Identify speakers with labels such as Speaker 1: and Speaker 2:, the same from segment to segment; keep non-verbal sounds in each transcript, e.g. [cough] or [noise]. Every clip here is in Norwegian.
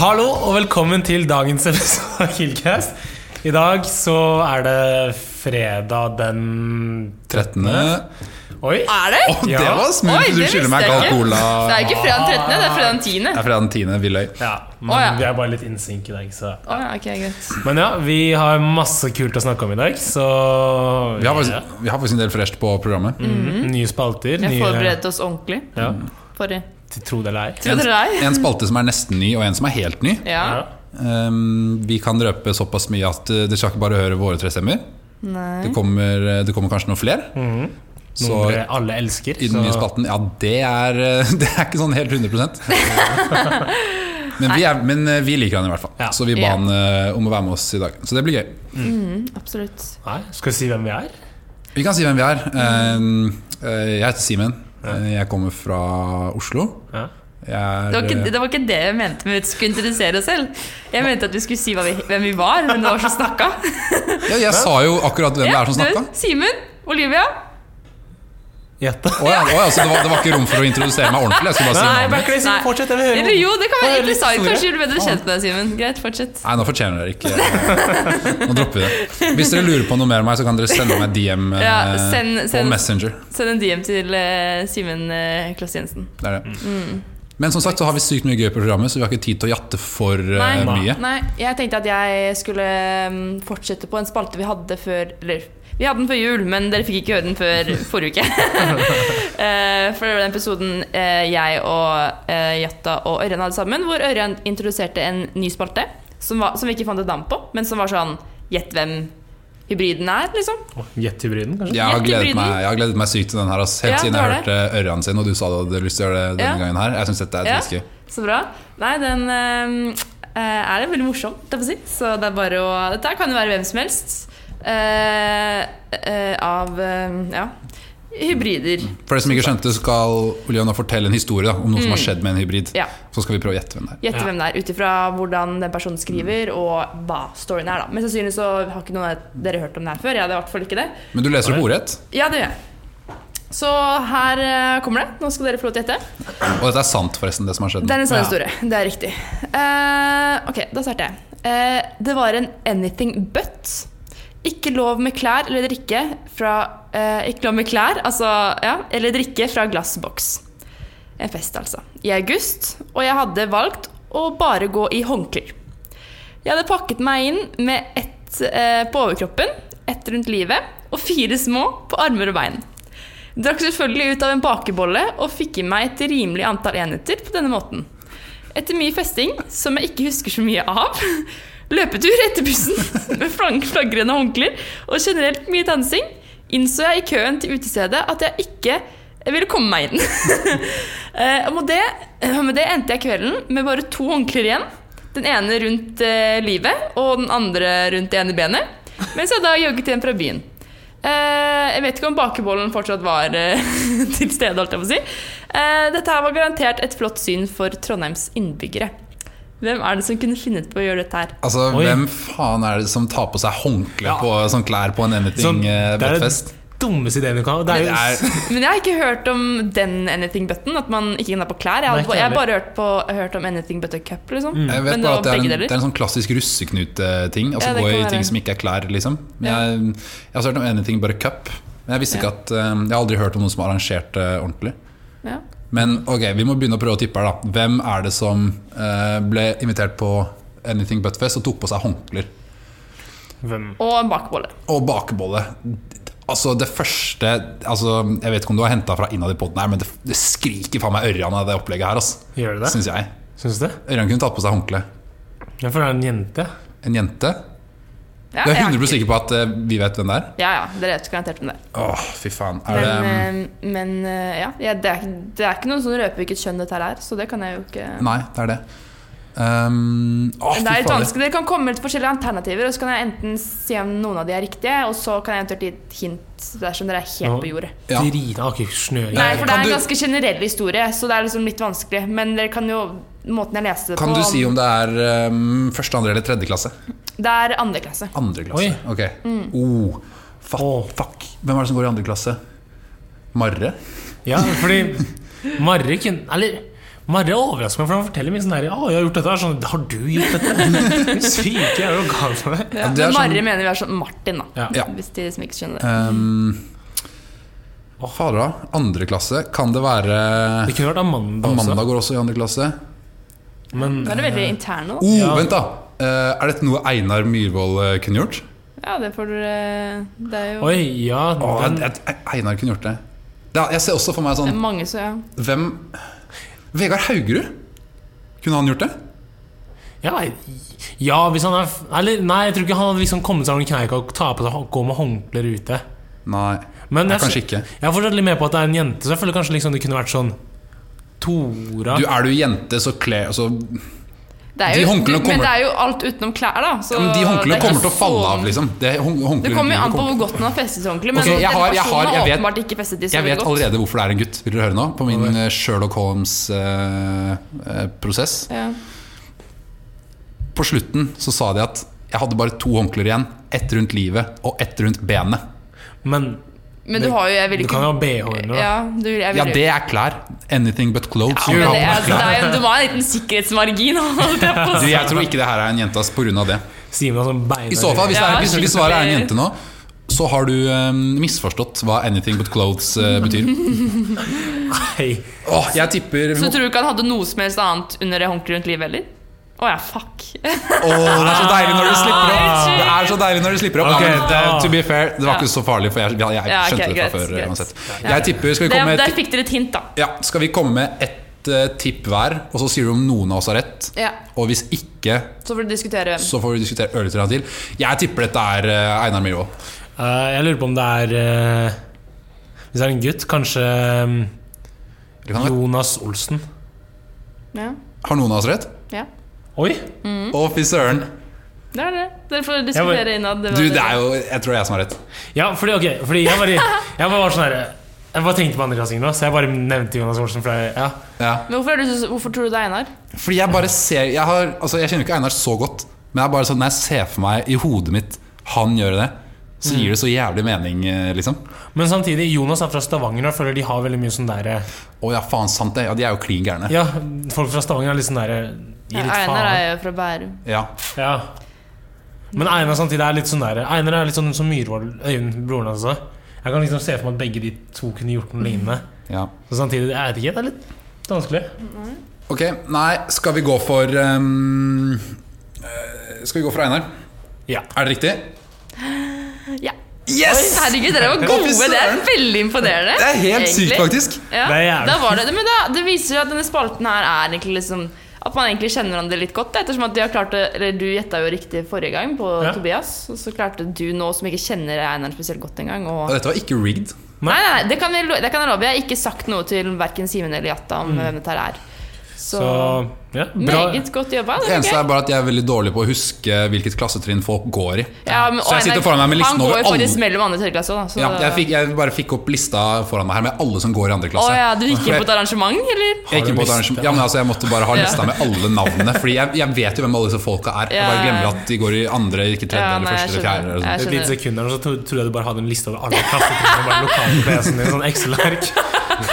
Speaker 1: Hallo og velkommen til dagens episode av Killcast. I dag så er det fredag den
Speaker 2: 13.
Speaker 1: Oi!
Speaker 3: Er det?
Speaker 2: Å, det
Speaker 1: Ja.
Speaker 2: var
Speaker 3: Oi,
Speaker 2: smooth! Du
Speaker 3: det
Speaker 2: skylder
Speaker 3: visste
Speaker 2: meg
Speaker 3: jeg
Speaker 2: ikke
Speaker 3: ikke.
Speaker 2: cola.
Speaker 3: Så det er ikke fredag den 13., det er fredag den 10.
Speaker 2: Det er fra den tiende Villøy.
Speaker 1: Ja, men
Speaker 3: Å, ja.
Speaker 1: vi er bare litt innsynk i dag, så
Speaker 3: Å ja, ok, greit.
Speaker 1: Men ja, vi har masse kult å snakke om i dag, så
Speaker 2: Vi har
Speaker 1: Ja.
Speaker 2: faktisk, vi har faktisk en del fresh på programmet.
Speaker 3: Mm.
Speaker 1: Mhm. Nye spalter.
Speaker 3: Jeg
Speaker 1: nye-
Speaker 3: forberedte oss ordentlig.
Speaker 1: Ja,
Speaker 3: Forrige.
Speaker 1: til tro det eller ei.
Speaker 3: Tror dere det?
Speaker 2: En spalte som er nesten ny, og en som er helt ny.
Speaker 1: Ja.
Speaker 3: Ja.
Speaker 2: Um, vi kan røpe såpass mye at uh, dere skal ikke bare høre våre tre stemmer.
Speaker 3: Nei. Mhm.
Speaker 2: Det kommer, uh, det kommer kanskje noen flere. Så
Speaker 1: Noen dere alle elsker.
Speaker 2: i den nye
Speaker 1: så-
Speaker 2: spalten Ja, det er, uh, [laughs] det er ikke sånn helt
Speaker 3: [laughs]
Speaker 2: 100 Men vi, er, men uh, vi liker han i hvert fall,
Speaker 1: Ja.
Speaker 2: så vi ba
Speaker 3: Ja.
Speaker 2: han uh, om å være med oss i dag. Så det blir gøy.
Speaker 3: Absolutt.
Speaker 1: Nei, skal vi si hvem vi er?
Speaker 2: Vi kan si hvem vi er. Um, uh, jeg heter Simen. Uh, Jeg kommer fra Oslo.
Speaker 1: Ja.
Speaker 2: Jeg er,
Speaker 3: Det var, ikke,
Speaker 2: uh,
Speaker 3: det var ikke det jeg mente med at vi skulle introdusere oss selv. Jeg mente at vi skulle si hva vi, hvem vi var, men det var så snakka.
Speaker 1: [laughs]
Speaker 2: ja, jeg sa jo akkurat hvem det er som snakka.
Speaker 3: Simen. Olivia.
Speaker 1: Gjette.
Speaker 2: Å ja, å ja, så det, var, det var ikke rom for å introdusere meg ordentlig? Jeg skulle bare si
Speaker 1: Nei,
Speaker 2: navnet.
Speaker 1: bare ikke
Speaker 3: Nei.
Speaker 1: fortsett. Jeg vil høre
Speaker 3: Eller jo, det kan
Speaker 1: Få høre
Speaker 3: være
Speaker 1: litt
Speaker 3: interessant.
Speaker 1: historie.
Speaker 3: Kanskje vi blir bedre kjent med deg, Simen. Greit, fortsett.
Speaker 2: Nei, nå fortjener dere ikke Nå dropper vi det. Hvis dere lurer på noe mer om meg, så kan dere sende meg DM eh,
Speaker 3: Ja, send-
Speaker 2: på
Speaker 3: send-
Speaker 2: Messenger.
Speaker 3: Send en DM til eh, Simen eh, Klasse Jensen.
Speaker 2: Det er det.
Speaker 3: Mm.
Speaker 2: Men som sagt så har vi sykt mye gøy på programmet, så vi har ikke tid til å jatte for eh,
Speaker 3: Nei.
Speaker 2: mye.
Speaker 3: Nei, jeg tenkte at jeg skulle mm, fortsette på en spalte vi hadde før Eller, vi hadde den før jul, men dere fikk ikke høre den
Speaker 2: [laughs]
Speaker 3: før forrige uke. [laughs] Eh, For det var den episoden eh, jeg og eh, Jatta og Ørjan hadde sammen, hvor Ørjan introduserte en ny spalte som, var, som vi ikke fant et navn på, men som var sånn Gjett hvem hybriden er, liksom.
Speaker 1: Jethybriden, kanskje?
Speaker 2: Jeg har, gledet
Speaker 3: Hjertebryden.
Speaker 2: meg, jeg har gledet meg sykt til den her. ass. Helt
Speaker 3: Ja,
Speaker 2: siden
Speaker 3: du
Speaker 2: jeg
Speaker 3: har det.
Speaker 2: hørte Ørjan sin, og du sa du hadde lyst til å gjøre det denne
Speaker 3: Ja.
Speaker 2: gangen her. Jeg synes dette er
Speaker 3: Ja,
Speaker 2: dritgøy.
Speaker 3: så bra. Nei, den eh, er veldig morsom, det får si. Så det er bare å Dette her kan jo være hvem som helst. eh, eh, av eh, ja hybrider.
Speaker 2: For dere som ikke skjønte, skal Olivia nå fortelle en historie da, om noe som har skjedd med en hybrid.
Speaker 3: Mm. Ja.
Speaker 2: Så skal vi prøve å gjette hvem det er.
Speaker 3: Gjette
Speaker 1: Ja.
Speaker 3: hvem det er, ut ifra hvordan den personen skriver og hva storyen er. da Men sannsynligvis så har ikke noen av dere hørt om det her før. Jeg hadde i hvert fall ikke det.
Speaker 2: Men du leser opp ordrett,
Speaker 3: Ja, det gjør jeg. Så her eh, kommer det. Nå skal dere få lov til å gjette.
Speaker 2: og dette er sant, forresten, det som har skjedd.
Speaker 3: Det
Speaker 2: nå.
Speaker 3: er en sann
Speaker 1: Ja.
Speaker 3: historie. Det er riktig. Eh, ok, da starter jeg. Eh, det var en anything but. Ikke lov med klær eller drikke fra eh, Ikke lov med klær, altså Ja, eller drikke fra glassboks. En fest, altså. I august, og jeg hadde valgt å bare gå i håndklær. Jeg hadde pakket meg inn med ett eh, på overkroppen, ett rundt livet og fire små på armer og bein. Drakk selvfølgelig ut av en bakebolle og fikk i meg et rimelig antall enheter på denne måten. Etter mye festing, som jeg ikke husker så mye av, [laughs] løpetur etter bussen [laughs] med flank- flagrende håndklær og generelt mye dansing, innså jeg i køen til utestedet at jeg ikke ville komme meg inn. Eh, og med det, med det endte jeg kvelden med bare to håndklær igjen. Den ene rundt eh, livet og den andre rundt det ene benet. Mens jeg da jogget hjem fra byen. Eh, jeg vet ikke om bakebollen fortsatt var eh, [laughs] til stede, holdt jeg på å si. Eh, dette her var garantert et flott syn for Trondheims innbyggere. Hvem er det som kunne finnet på å gjøre dette her?
Speaker 2: Altså,
Speaker 1: Oi.
Speaker 2: Hvem faen er det som tar på seg håndkle
Speaker 1: Ja.
Speaker 2: på sånn klær på en
Speaker 1: Sånn,
Speaker 2: anything eh,
Speaker 1: det er den [laughs]
Speaker 2: buttfest?
Speaker 1: dummeste ideen du kan ha. Det er
Speaker 2: Det
Speaker 1: jo
Speaker 2: er,
Speaker 3: Men jeg har ikke hørt om den anything button, at man ikke kan ha på klær. Jeg
Speaker 1: Nei,
Speaker 3: har,
Speaker 1: ikke
Speaker 3: jeg har
Speaker 1: heller.
Speaker 3: bare hørt, på, hørt om anything but a cup, liksom.
Speaker 2: Mm. jeg vet
Speaker 3: Men
Speaker 2: bare at det er,
Speaker 3: var
Speaker 2: en,
Speaker 3: begge
Speaker 2: det
Speaker 3: deler.
Speaker 2: er en sånn klassisk russeknute-ting. Altså
Speaker 3: Ja, det
Speaker 2: gå i
Speaker 3: kan være.
Speaker 2: ting som ikke er klær, liksom. Men
Speaker 3: Ja.
Speaker 2: jeg, jeg har hørt om anything but a cup. Men jeg visste ikke at eh, Jeg har aldri hørt om noen som har arrangert det ordentlig.
Speaker 3: Ja.
Speaker 2: Men ok, vi må begynne å prøve å tippe her, da. Hvem er det som eh, ble invitert på Anything But Fest og tok på seg håndklær?
Speaker 1: Hvem?
Speaker 3: Og en bakebolle.
Speaker 2: Og bakebolle. Altså Det første altså, Jeg vet ikke om du har henta fra innad i poden her, men det, det skriker faen meg Ørjan av det opplegget her, altså.
Speaker 1: Gjør det det?
Speaker 2: Syns jeg.
Speaker 1: Syns du det?
Speaker 2: Ørjan kunne tatt på seg håndkle.
Speaker 1: Ja, for det er en jente.
Speaker 2: En jente. Du
Speaker 3: Ja,
Speaker 2: er
Speaker 3: jeg har
Speaker 2: 100
Speaker 3: ikke-
Speaker 2: sikker på at eh, vi vet hvem det er?
Speaker 3: Ja, ja, dere vet garantert om det.
Speaker 2: Åh, fy faen. Er det
Speaker 3: Men, eh, men eh, ja, ja, det, er, det er ikke noen sånn røpe hvilket kjønn dette her er, så det kan jeg jo ikke
Speaker 2: mm, Nei, det er det. Um, åh, fy
Speaker 3: Men Det er litt
Speaker 2: fader.
Speaker 3: vanskelig. Dere kan komme med forskjellige alternativer, og så kan jeg enten si om noen av de er riktige, og så kan jeg eventuelt gi et hint dersom dere er helt
Speaker 1: Ja.
Speaker 3: på jordet.
Speaker 2: Ja.
Speaker 1: Drit, ah, ok, snø.
Speaker 3: Nei, for det
Speaker 2: kan
Speaker 3: er en
Speaker 2: du-
Speaker 3: ganske generell historie, så det er liksom litt vanskelig. Men dere kan jo Måten jeg leste det
Speaker 2: Kan
Speaker 3: på
Speaker 2: du si om det er um, første, andre eller tredje klasse?
Speaker 3: Det er andre klasse.
Speaker 2: Andre klasse. Ok.
Speaker 3: Mm.
Speaker 2: Oh, fuck,
Speaker 1: Åh.
Speaker 2: fuck. Hvem er det som går i andre klasse? Marre?
Speaker 1: Ja, fordi Marre kunne Eller Marre overrasker meg, for han forteller mye sånn her Å, jeg har gjort dette. Jeg er Sånn, har du gjort dette? [laughs] Du Syke, jeg er jo gal for deg.
Speaker 3: Ja,
Speaker 2: det er
Speaker 3: men
Speaker 2: sånn-
Speaker 3: Marre mener vi er sånn Martin, da.
Speaker 1: Ja.
Speaker 2: Ja.
Speaker 3: Hvis de som ikke skjønner det.
Speaker 2: Um, hva fader da? Andre klasse? Kan det være
Speaker 1: Vi kunne vært Amanda,
Speaker 2: Amanda går også i andre klasse?
Speaker 1: også. Men
Speaker 3: Nå er det veldig interne, da.
Speaker 2: Oh,
Speaker 1: Ja.
Speaker 2: vent, da! Eh, er dette noe Einar Myhrvold eh, kunne gjort?
Speaker 3: Ja, det får dere Det er jo
Speaker 1: Oi, ja.
Speaker 2: Åh,
Speaker 1: Den,
Speaker 2: jeg, jeg, E- Einar kunne gjort det. det. er- Jeg ser også for meg
Speaker 3: det
Speaker 2: sånn
Speaker 3: er mange, så ja.
Speaker 2: Hvem Vegard Haugerud? Kunne han gjort det?
Speaker 1: ja, ja, hvis han er f- Eller nei, jeg tror ikke han hadde liksom kommet seg over den kneika og ta på seg gå med håndklær ute.
Speaker 2: Nei.
Speaker 1: Men jeg,
Speaker 2: Kanskje ikke.
Speaker 1: jeg er fortsatt litt med på at det er en jente, så jeg føler kanskje liksom det kunne vært sånn Tora
Speaker 2: Du, er du jente, så kle altså,
Speaker 3: Det er
Speaker 2: De
Speaker 3: jo,
Speaker 2: håndklærne
Speaker 3: du- Men
Speaker 2: kommer-
Speaker 3: det er jo alt utenom klær, da. Så
Speaker 2: ja, men De
Speaker 3: det
Speaker 2: håndklærne
Speaker 3: er
Speaker 2: kommer
Speaker 3: ikke
Speaker 2: til å falle av,
Speaker 3: sånn-
Speaker 2: liksom. Det, hånd,
Speaker 3: Det
Speaker 2: håndklærne
Speaker 3: kommer jo an på
Speaker 2: kommer-
Speaker 3: hvor godt den har festet seg ordentlig. Men
Speaker 2: Ok, jeg
Speaker 3: denne
Speaker 2: har- jeg
Speaker 3: personen
Speaker 2: har- jeg vet-
Speaker 3: åpenbart ikke festet de så
Speaker 2: Jeg
Speaker 3: veldig
Speaker 2: vet
Speaker 3: godt.
Speaker 2: allerede hvorfor det er en gutt. Vil dere høre nå? På min
Speaker 1: Ok.
Speaker 2: eh, Sherlock eh, Holmes-prosess.
Speaker 3: Ja.
Speaker 2: På slutten så sa de at jeg hadde bare to håndklær igjen. Ett rundt livet og ett rundt benet.
Speaker 1: Men
Speaker 3: Men du har jo Jeg vil
Speaker 1: du
Speaker 3: ikke
Speaker 1: kan jo ha bh under, da.
Speaker 3: Ja, du, jeg vil,
Speaker 2: Ja, det er klær. Anything but clothes.
Speaker 3: Ja, men
Speaker 2: som
Speaker 3: det,
Speaker 2: vi har
Speaker 3: er,
Speaker 2: på
Speaker 3: altså, det,
Speaker 2: klær.
Speaker 3: er, jo- det var en liten sikkerhetsmargin. [laughs] holdt jeg på å
Speaker 2: Du,
Speaker 3: si.
Speaker 2: jeg tror ikke det her er en jentas pga. det.
Speaker 1: Simen har sånn bein
Speaker 2: I så fall, hvis, det er, hvis, hvis svaret er en
Speaker 3: Ja,
Speaker 2: jente nå, så har du eh, misforstått hva 'anything but clothes' eh, betyr.
Speaker 3: [laughs]
Speaker 1: Hei.
Speaker 2: Åh, jeg tipper
Speaker 3: Så
Speaker 2: Åh,
Speaker 3: tror du ikke han hadde noe som helst annet under det håndkleet rundt livet heller? Å ja, fuck. [laughs]
Speaker 2: Det er så deilig når du slipper opp!
Speaker 3: Ah,
Speaker 2: Det er så deilig når du slipper opp
Speaker 1: Ok,
Speaker 2: Ja, men det,
Speaker 1: da-
Speaker 2: To be fair, det var ikke så farlig, for jeg, jeg, jeg
Speaker 3: Ja, ok,
Speaker 2: skjønte det
Speaker 3: greit,
Speaker 2: fra før.
Speaker 3: greit.
Speaker 2: uansett Jeg tipper, Skal vi
Speaker 3: Der,
Speaker 2: komme med
Speaker 3: der
Speaker 2: et,
Speaker 3: fikk dere et hint, da.
Speaker 2: ja, skal vi komme med ett eh, tipp hver, og så sier du om noen av oss har rett?
Speaker 3: Ja,
Speaker 2: Og hvis ikke,
Speaker 3: Så får dere diskutere hvem.
Speaker 2: så får vi diskutere ørlite grann til. Jeg tipper dette er eh, Einar Myhrvold.
Speaker 1: Eh, jeg lurer på om det er eh, Hvis det er en gutt, kanskje mm,
Speaker 2: Det kan være-
Speaker 1: Jonas Olsen.
Speaker 3: Ja,
Speaker 2: Har noen av oss rett?
Speaker 3: ja.
Speaker 1: Oi!
Speaker 3: Mm.
Speaker 2: Å, fy søren!
Speaker 3: Det er det. Dere får diskutere innad.
Speaker 2: Du, det er jo Jeg tror det er jeg som har rett.
Speaker 1: Ja, fordi, ok, fordi jeg bare,
Speaker 3: [laughs]
Speaker 1: jeg bare var sånn her Jeg bare tenkte på andreklassingen nå, så jeg bare nevnte Jonas Olsen. For jeg, ja.
Speaker 2: Ja.
Speaker 3: Men hvorfor, er du, så- hvorfor tror du det er Einar?
Speaker 2: Fordi jeg bare ser Jeg, har, altså, jeg kjenner jo ikke Einar så godt, men jeg er bare sånn, når jeg ser for meg i hodet mitt han gjør det, så gir det så jævlig mening, eh, liksom.
Speaker 1: Men samtidig, Jonas er fra Stavanger, og jeg føler de har veldig mye sånn derre
Speaker 2: Å ja, faen, sant det. Ja, de er jo klin gærne.
Speaker 1: Ja, folk fra Stavanger er litt sånn derre Gi litt
Speaker 3: Einar
Speaker 1: faen.
Speaker 3: er jo fra Bærum.
Speaker 2: Ja.
Speaker 1: Ja. Men Einar samtidig er litt sånn derre Einar er litt sånn som Myhrvold, Øyvind, broren hans også. Jeg kan liksom se for meg at begge de to kunne gjort noe lignende.
Speaker 2: ja.
Speaker 1: Så samtidig, jeg vet ikke, det er litt vanskelig.
Speaker 2: Ok, nei, skal vi gå for ehm, eh, Skal vi gå for Einar?
Speaker 1: Ja.
Speaker 2: Er det riktig?
Speaker 3: Ja.
Speaker 2: Yes!
Speaker 3: Oi, herregud, dere var gode! Det er
Speaker 2: søren.
Speaker 3: veldig imponerende.
Speaker 2: Det er helt sykt,
Speaker 3: egentlig.
Speaker 2: faktisk.
Speaker 3: Ja,
Speaker 1: Det er jævlig.
Speaker 3: da var det, det- men da, det viser jo at denne spalten her er egentlig liksom At man egentlig kjenner hverandre litt godt. da, Ettersom at de har klart det, eller Du gjetta jo riktig forrige gang på
Speaker 1: Ja.
Speaker 3: Tobias. Og så klarte du nå, som ikke kjenner Einar spesielt godt engang
Speaker 2: Og
Speaker 3: og...
Speaker 2: dette var ikke rigged.
Speaker 1: Nei.
Speaker 3: Nei, nei, nei, det kan, jeg, lo- det kan jeg love. Jeg har ikke sagt noe til verken Simen eller Jatta om hvem dette her er. Så,
Speaker 1: Mm. Så ja, bra.
Speaker 3: meget godt jobba.
Speaker 2: Det
Speaker 3: Det
Speaker 2: eneste er
Speaker 3: er
Speaker 2: bare at jeg er veldig dårlig på å huske hvilket klassetrinn folk går i.
Speaker 3: ja, men,
Speaker 2: Så jeg
Speaker 3: og
Speaker 2: sitter
Speaker 3: Einar-
Speaker 2: foran meg med listen
Speaker 3: Han
Speaker 2: over
Speaker 3: går jo
Speaker 2: alle-
Speaker 3: faktisk mellom andre tredjeklasse òg, da. Så,
Speaker 2: Ja, jeg, fikk, jeg bare fikk opp lista foran meg her med alle som går i andre
Speaker 3: Å
Speaker 2: klasse.
Speaker 3: ja, du gikk inn
Speaker 2: For
Speaker 3: på et arrangement, eller?
Speaker 2: Jeg, gikk inn på
Speaker 1: Har
Speaker 2: et
Speaker 1: du
Speaker 2: arrangement- ja, men altså, jeg måtte bare ha
Speaker 3: Ja.
Speaker 2: lista med alle navnene. Fordi jeg, jeg vet jo hvem alle disse folka er. Jeg bare
Speaker 3: Ja.
Speaker 2: glemmer at de går i andre, ikke tredje
Speaker 3: Ja,
Speaker 2: eller
Speaker 3: nei,
Speaker 2: første
Speaker 3: jeg
Speaker 2: eller fjerde. Eller
Speaker 3: skjønner.
Speaker 2: sånt.
Speaker 1: Et lite
Speaker 3: skjønner.
Speaker 1: sekund der, og så tro- tror jeg du bare hadde en liste over alle klassetrinnene. bare lokalt på PC-en din, Sånn Excel-ark.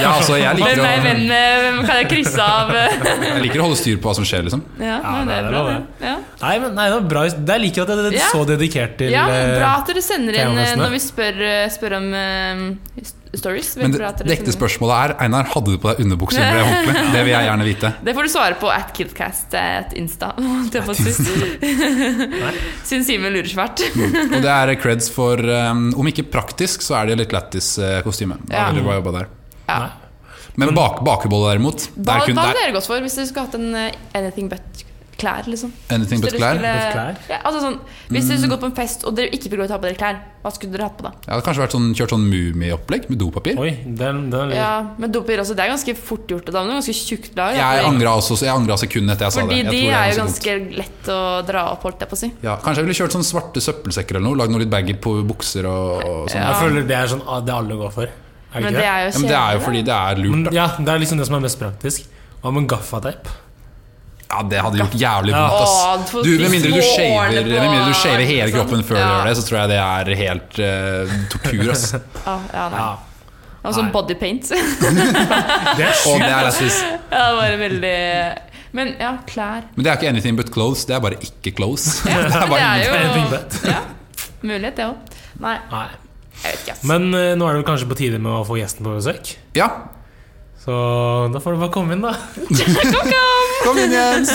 Speaker 2: ja, altså, jeg, liker
Speaker 3: Hvem, er, hvem,
Speaker 2: å,
Speaker 3: eh, hvem kan jeg
Speaker 2: [laughs]
Speaker 3: krysse av?
Speaker 2: jeg liker å holde styr på hva som skjer, liksom.
Speaker 3: [laughs] Ja,
Speaker 1: Ja,
Speaker 3: men det er
Speaker 1: det er
Speaker 3: bra,
Speaker 1: bra,
Speaker 3: det. Ja.
Speaker 1: Nei, men nei, det var bra. Jeg liker at dere er
Speaker 3: Ja.
Speaker 1: så dedikert til
Speaker 3: Ja,
Speaker 1: eh,
Speaker 3: bra at dere sender inn eh,
Speaker 1: tema-festene.
Speaker 3: når vi spør, eh, spør om eh, st- stories. Veldig
Speaker 2: Men det,
Speaker 3: bra at dere
Speaker 2: det ekte
Speaker 3: sender inn.
Speaker 2: spørsmålet er Einar, hadde du på deg underbukse under det
Speaker 3: [laughs]
Speaker 2: håndkleet? Det vil jeg gjerne vite.
Speaker 3: Det får du svare på at Kidcast eh, at Insta. [laughs] holdt jeg på å si. [laughs] Siden Simen lurer svært.
Speaker 2: Og det er creds for um, Om ikke praktisk, så er det litt lættis eh, kostyme. Det
Speaker 3: Ja.
Speaker 2: er veldig bra jobba der.
Speaker 3: Ja.
Speaker 2: Men bak, bakebolle, derimot det
Speaker 3: Hva
Speaker 2: er
Speaker 3: hva
Speaker 2: kun,
Speaker 3: hadde
Speaker 2: det er
Speaker 3: dere gått for hvis dere skulle hatt en eh, anything but-klær? liksom?
Speaker 2: anything
Speaker 3: Hvis
Speaker 2: but klær.
Speaker 3: dere
Speaker 2: Mm.
Speaker 3: skulle-
Speaker 1: But klær?
Speaker 3: Ja, altså sånn, hvis dere skulle gått på en fest og dere ikke fikk lov til å ha på dere klær, hva skulle dere hatt på da?
Speaker 2: Jeg hadde kanskje vært sånn, kjørt sånn mumieopplegg med dopapir.
Speaker 1: eh, Oi, den, den er
Speaker 3: Ja, Men dopapir også, det er ganske fort gjort. Da. men Det er ganske tjukt lag. da,
Speaker 2: Jeg
Speaker 3: fordi-
Speaker 2: angra også- jeg angra sekundet etter jeg sa
Speaker 3: Fordi
Speaker 2: det. Jeg
Speaker 3: de
Speaker 2: tror det
Speaker 3: er jo
Speaker 2: ganske dumt.
Speaker 3: ganske lett å dra opp, holdt jeg på å si.
Speaker 2: Ja, kanskje jeg ville kjørt sånn svarte søppelsekker eller noe. Lagd noe litt baggy på bukser og, og sånn.
Speaker 3: Ja.
Speaker 1: Jeg føler det er sånn ah, det alle går for. Er det
Speaker 3: Men
Speaker 1: ikke
Speaker 3: det
Speaker 1: det?
Speaker 3: er jo
Speaker 2: Ja, men det er jo fordi det er lurt.
Speaker 1: Men, ja, det er liksom det som er mest praktisk. Hva med gaffateip?
Speaker 2: Ja, det hadde gjort jævlig
Speaker 1: Ja.
Speaker 2: vondt,
Speaker 3: Åh,
Speaker 2: ass.
Speaker 3: for
Speaker 2: Du, med mindre du
Speaker 3: små
Speaker 2: shaver,
Speaker 3: årene på-
Speaker 2: med mindre du shaver hele
Speaker 3: sånn.
Speaker 2: kroppen før du
Speaker 1: [laughs]
Speaker 3: Ja.
Speaker 2: gjør det, så tror jeg det er helt eh, tortur, ass.
Speaker 3: Ja, ja, nei.
Speaker 1: Ja.
Speaker 3: Og sånn
Speaker 1: Nei.
Speaker 3: body
Speaker 1: [laughs]
Speaker 3: paint. [laughs]
Speaker 1: Det er
Speaker 2: Og det
Speaker 1: sjukt.
Speaker 2: er lættis.
Speaker 3: ja, det var veldig Men ja, klær.
Speaker 2: Men det er ikke anything but clothes. Det er bare ikke clothes.
Speaker 3: Ja,
Speaker 2: [laughs] det er bare
Speaker 1: jo- anything
Speaker 3: ja, Mulighet, det òg. Nei,
Speaker 1: Nei.
Speaker 3: jeg vet ikke. ass.
Speaker 1: Men eh, nå er det vel kanskje på tide med å få gjesten på besøk.
Speaker 2: Ja,
Speaker 1: Så da får du bare komme inn, da.
Speaker 2: kom inn, Jens!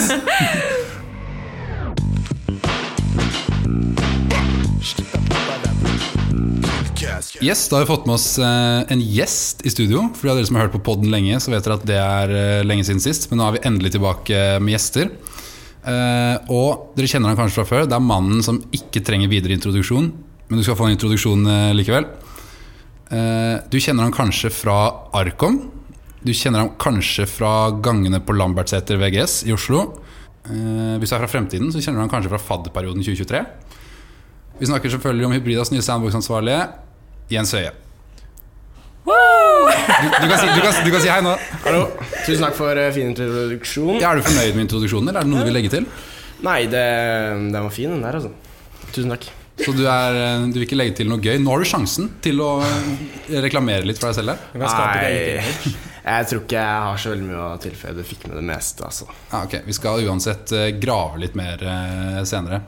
Speaker 2: Yes, Da har vi fått med oss eh, en gjest i studio. For de av dere som har hørt på podden lenge, så vet dere at det er eh, lenge siden sist. Men nå er vi endelig tilbake med gjester. Eh, og dere kjenner han kanskje fra før. Det er mannen som ikke trenger videre introduksjon. Men du skal få en introduksjon eh, likevel. Eh, du kjenner han kanskje fra Arkom. Du kjenner han kanskje fra gangene på Lambertseter VGS i Oslo. Eh, hvis du er fra fremtiden, så kjenner du han kanskje fra fadderperioden 2023. Vi snakker selvfølgelig om Hybridas nye sandbox-ansvarlige, Jens Høie. Du, du, kan si, du, kan, du kan si hei nå.
Speaker 4: Hallo. Tusen takk for eh, fin introduksjon.
Speaker 2: Ja, er du fornøyd med introduksjonen, eller er det noe du vil legge til?
Speaker 4: Nei, det, den var fin, den der, altså. Tusen takk.
Speaker 2: Så du, er, eh, du vil ikke legge til noe gøy? Nå har du sjansen til å eh, reklamere litt for deg selv her.
Speaker 1: Du kan skape ditt eget innhold.
Speaker 4: [laughs] jeg tror ikke jeg har så veldig mye å tilføye. Du fikk med det meste, altså.
Speaker 2: Ja, Ah, ok, Vi skal uansett eh, grave litt mer eh, senere.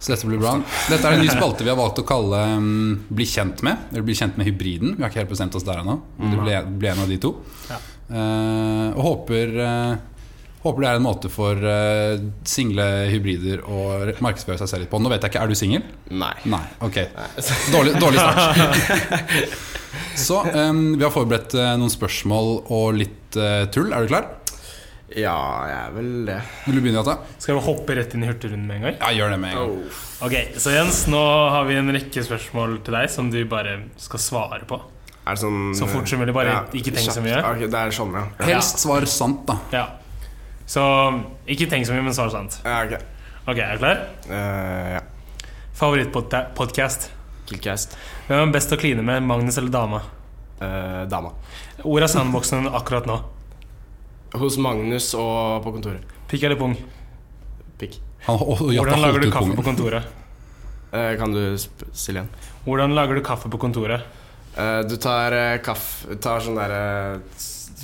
Speaker 2: Så dette blir bra. Dette er en ny spalte vi har valgt å kalle mm, Bli kjent med. Eller Bli kjent med hybriden. Vi har ikke helt bestemt oss der ennå. men Det ble, ble en av de to. Eh, og håper, eh, håper det er en måte for eh, single hybrider å re- markedsføre seg selv litt på. Nå vet jeg ikke, Er du singel?
Speaker 4: Nei.
Speaker 2: Nei. Ok. Dårlig, dårlig start. Så eh, vi har forberedt eh, noen spørsmål og litt eh, tull. Er du klar?
Speaker 4: Ja, jeg er vel det.
Speaker 2: Vil du begynne, Jata?
Speaker 1: Skal vi hoppe rett inn i hurtigrunden med en gang?
Speaker 2: Ja, gjør det med en gang.
Speaker 1: Ok, Så Jens, nå har vi en rekke spørsmål til deg som du bare skal svare på.
Speaker 4: Er det sånn
Speaker 1: Så fort som mulig, bare ikke tenk så mye.
Speaker 4: Ok, det er sånn, ja.
Speaker 2: Helst svar sant, da.
Speaker 1: Ja Så ikke tenk så mye, men svar sant.
Speaker 4: ja ok.
Speaker 1: Ok, Er du klar?
Speaker 4: Eh, ja.
Speaker 1: Favorittpodkast?
Speaker 4: Killcast.
Speaker 1: Hvem er best å kline med, Magnus eller dama?
Speaker 4: Eh, dama.
Speaker 1: Ord av sandboksen akkurat nå.
Speaker 4: Hos Magnus og på kontoret.
Speaker 1: Pikk eller pung?
Speaker 4: Pikk.
Speaker 2: Han, og, og, Jata
Speaker 1: Hvordan lager
Speaker 2: holdt
Speaker 1: du
Speaker 2: ut
Speaker 1: kaffe
Speaker 2: pungen.
Speaker 1: på kontoret?
Speaker 4: Eh, kan du sp stille igjen?
Speaker 1: Hvordan lager du kaffe på kontoret?
Speaker 4: Eh, du tar eh, kaff... Tar sånn derre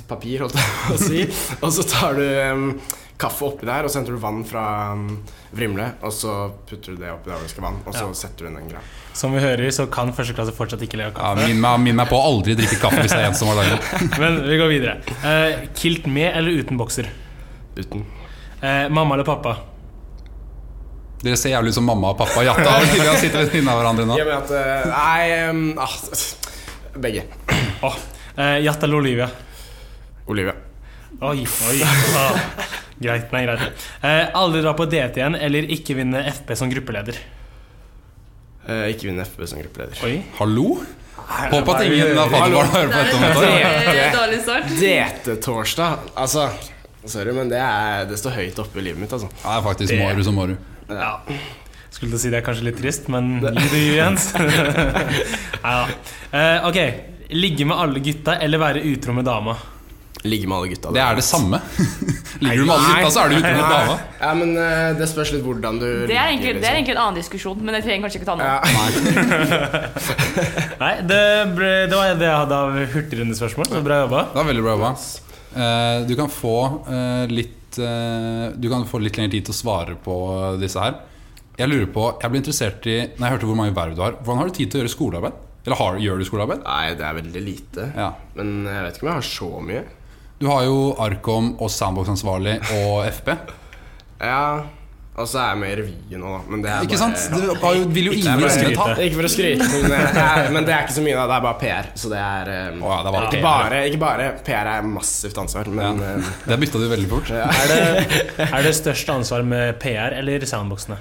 Speaker 4: papir, holdt jeg på å
Speaker 1: [laughs]
Speaker 4: si. og så tar du em, kaffe oppi der, og så henter du vann fra em, vrimle. Og så putter du det oppi der hvor det skal vann, og så
Speaker 1: Ja.
Speaker 4: setter du inn den greia.
Speaker 1: Som vi hører, så kan første klasse fortsatt ikke lage
Speaker 2: Ja,
Speaker 1: kaffe.
Speaker 2: minn, meg, minn meg på å aldri drikke kaffe hvis det er en som har lagd det.
Speaker 1: Men vi går videre. Eh, kilt med eller uten bokser?
Speaker 4: Uten.
Speaker 1: Eh, mamma eller pappa?
Speaker 2: Dere ser jævlig ut som mamma og pappa og Jata. Og de sitter ved siden av hverandre nå.
Speaker 4: Jeg mener at eh, Nei em, ah, Begge.
Speaker 1: Åh, eh, Jatta eller Olivia?
Speaker 4: Olivia.
Speaker 1: Oi, oi. Ah, greit, nei, greit. Eh, aldri dra på DT igjen eller ikke vinne FP som gruppeleder.
Speaker 4: Eh, ikke vinn FB som gruppeleder.
Speaker 1: Oi.
Speaker 2: Hallo? Håper at ingen av
Speaker 4: Hallo.
Speaker 2: fadderbarna hører på dette om et
Speaker 3: Det
Speaker 2: år.
Speaker 3: er en
Speaker 4: Det-
Speaker 3: eh, dårlig start.
Speaker 4: DT-torsdag. Altså, sorry, men det, er, det står høyt oppe i livet mitt, altså.
Speaker 2: Nei, faktisk. Må du, så må du.
Speaker 1: Ja. Skulle til å si det er kanskje litt trist, men gi det Jens. [laughs] ja. eh, ok. Ligge med alle gutta eller være utro med dama?
Speaker 4: Ligge med alle gutta.
Speaker 2: Det er det samme. [laughs] Ligger du med alle
Speaker 4: Nei.
Speaker 2: gutta, så er du ute med
Speaker 4: Nei.
Speaker 2: dama.
Speaker 4: Ja, men eh, det spørs litt hvordan du
Speaker 3: Det er, egentlig, det
Speaker 4: ligger,
Speaker 3: er
Speaker 4: liksom.
Speaker 3: egentlig en annen diskusjon, men jeg trenger kanskje ikke ta den nå.
Speaker 4: ja.
Speaker 1: Nei, det, ble, det var det jeg hadde av hurtigrundespørsmål. Så bra jobba.
Speaker 2: Det var veldig bra jobba. Eh, Du kan få eh, litt eh, Du kan få litt lengre tid til å svare på disse her. Jeg lurer på, jeg ble interessert i Når jeg hørte hvor mange verv du har, hvordan har du tid til å gjøre skolearbeid? Eller har, gjør du skolearbeid?
Speaker 4: Nei, det er veldig lite.
Speaker 2: Ja.
Speaker 4: Men jeg vet ikke om jeg har så mye.
Speaker 2: Du har jo Arkom og Sandbox-ansvarlig og FP.
Speaker 4: Ja, Og så er jeg med i revyen nå, da. Men det er
Speaker 2: Ikke
Speaker 4: bare,
Speaker 2: sant? Du har jo, vil jo
Speaker 4: Det er
Speaker 2: ingen
Speaker 4: bare
Speaker 2: skulle ta.
Speaker 1: skryte.
Speaker 4: Ikke for å skryte, men, eh, jeg- men det er ikke så mye, da. Det er bare PR. Så det er, eh,
Speaker 2: Å ja, det var
Speaker 4: ikke,
Speaker 2: PR.
Speaker 4: Bare, ikke bare PR er massivt ansvar, men
Speaker 2: Ja. [laughs]
Speaker 4: eh,
Speaker 2: Det bytta du veldig fort.
Speaker 1: Er det, er det største ansvar med PR eller soundboxene?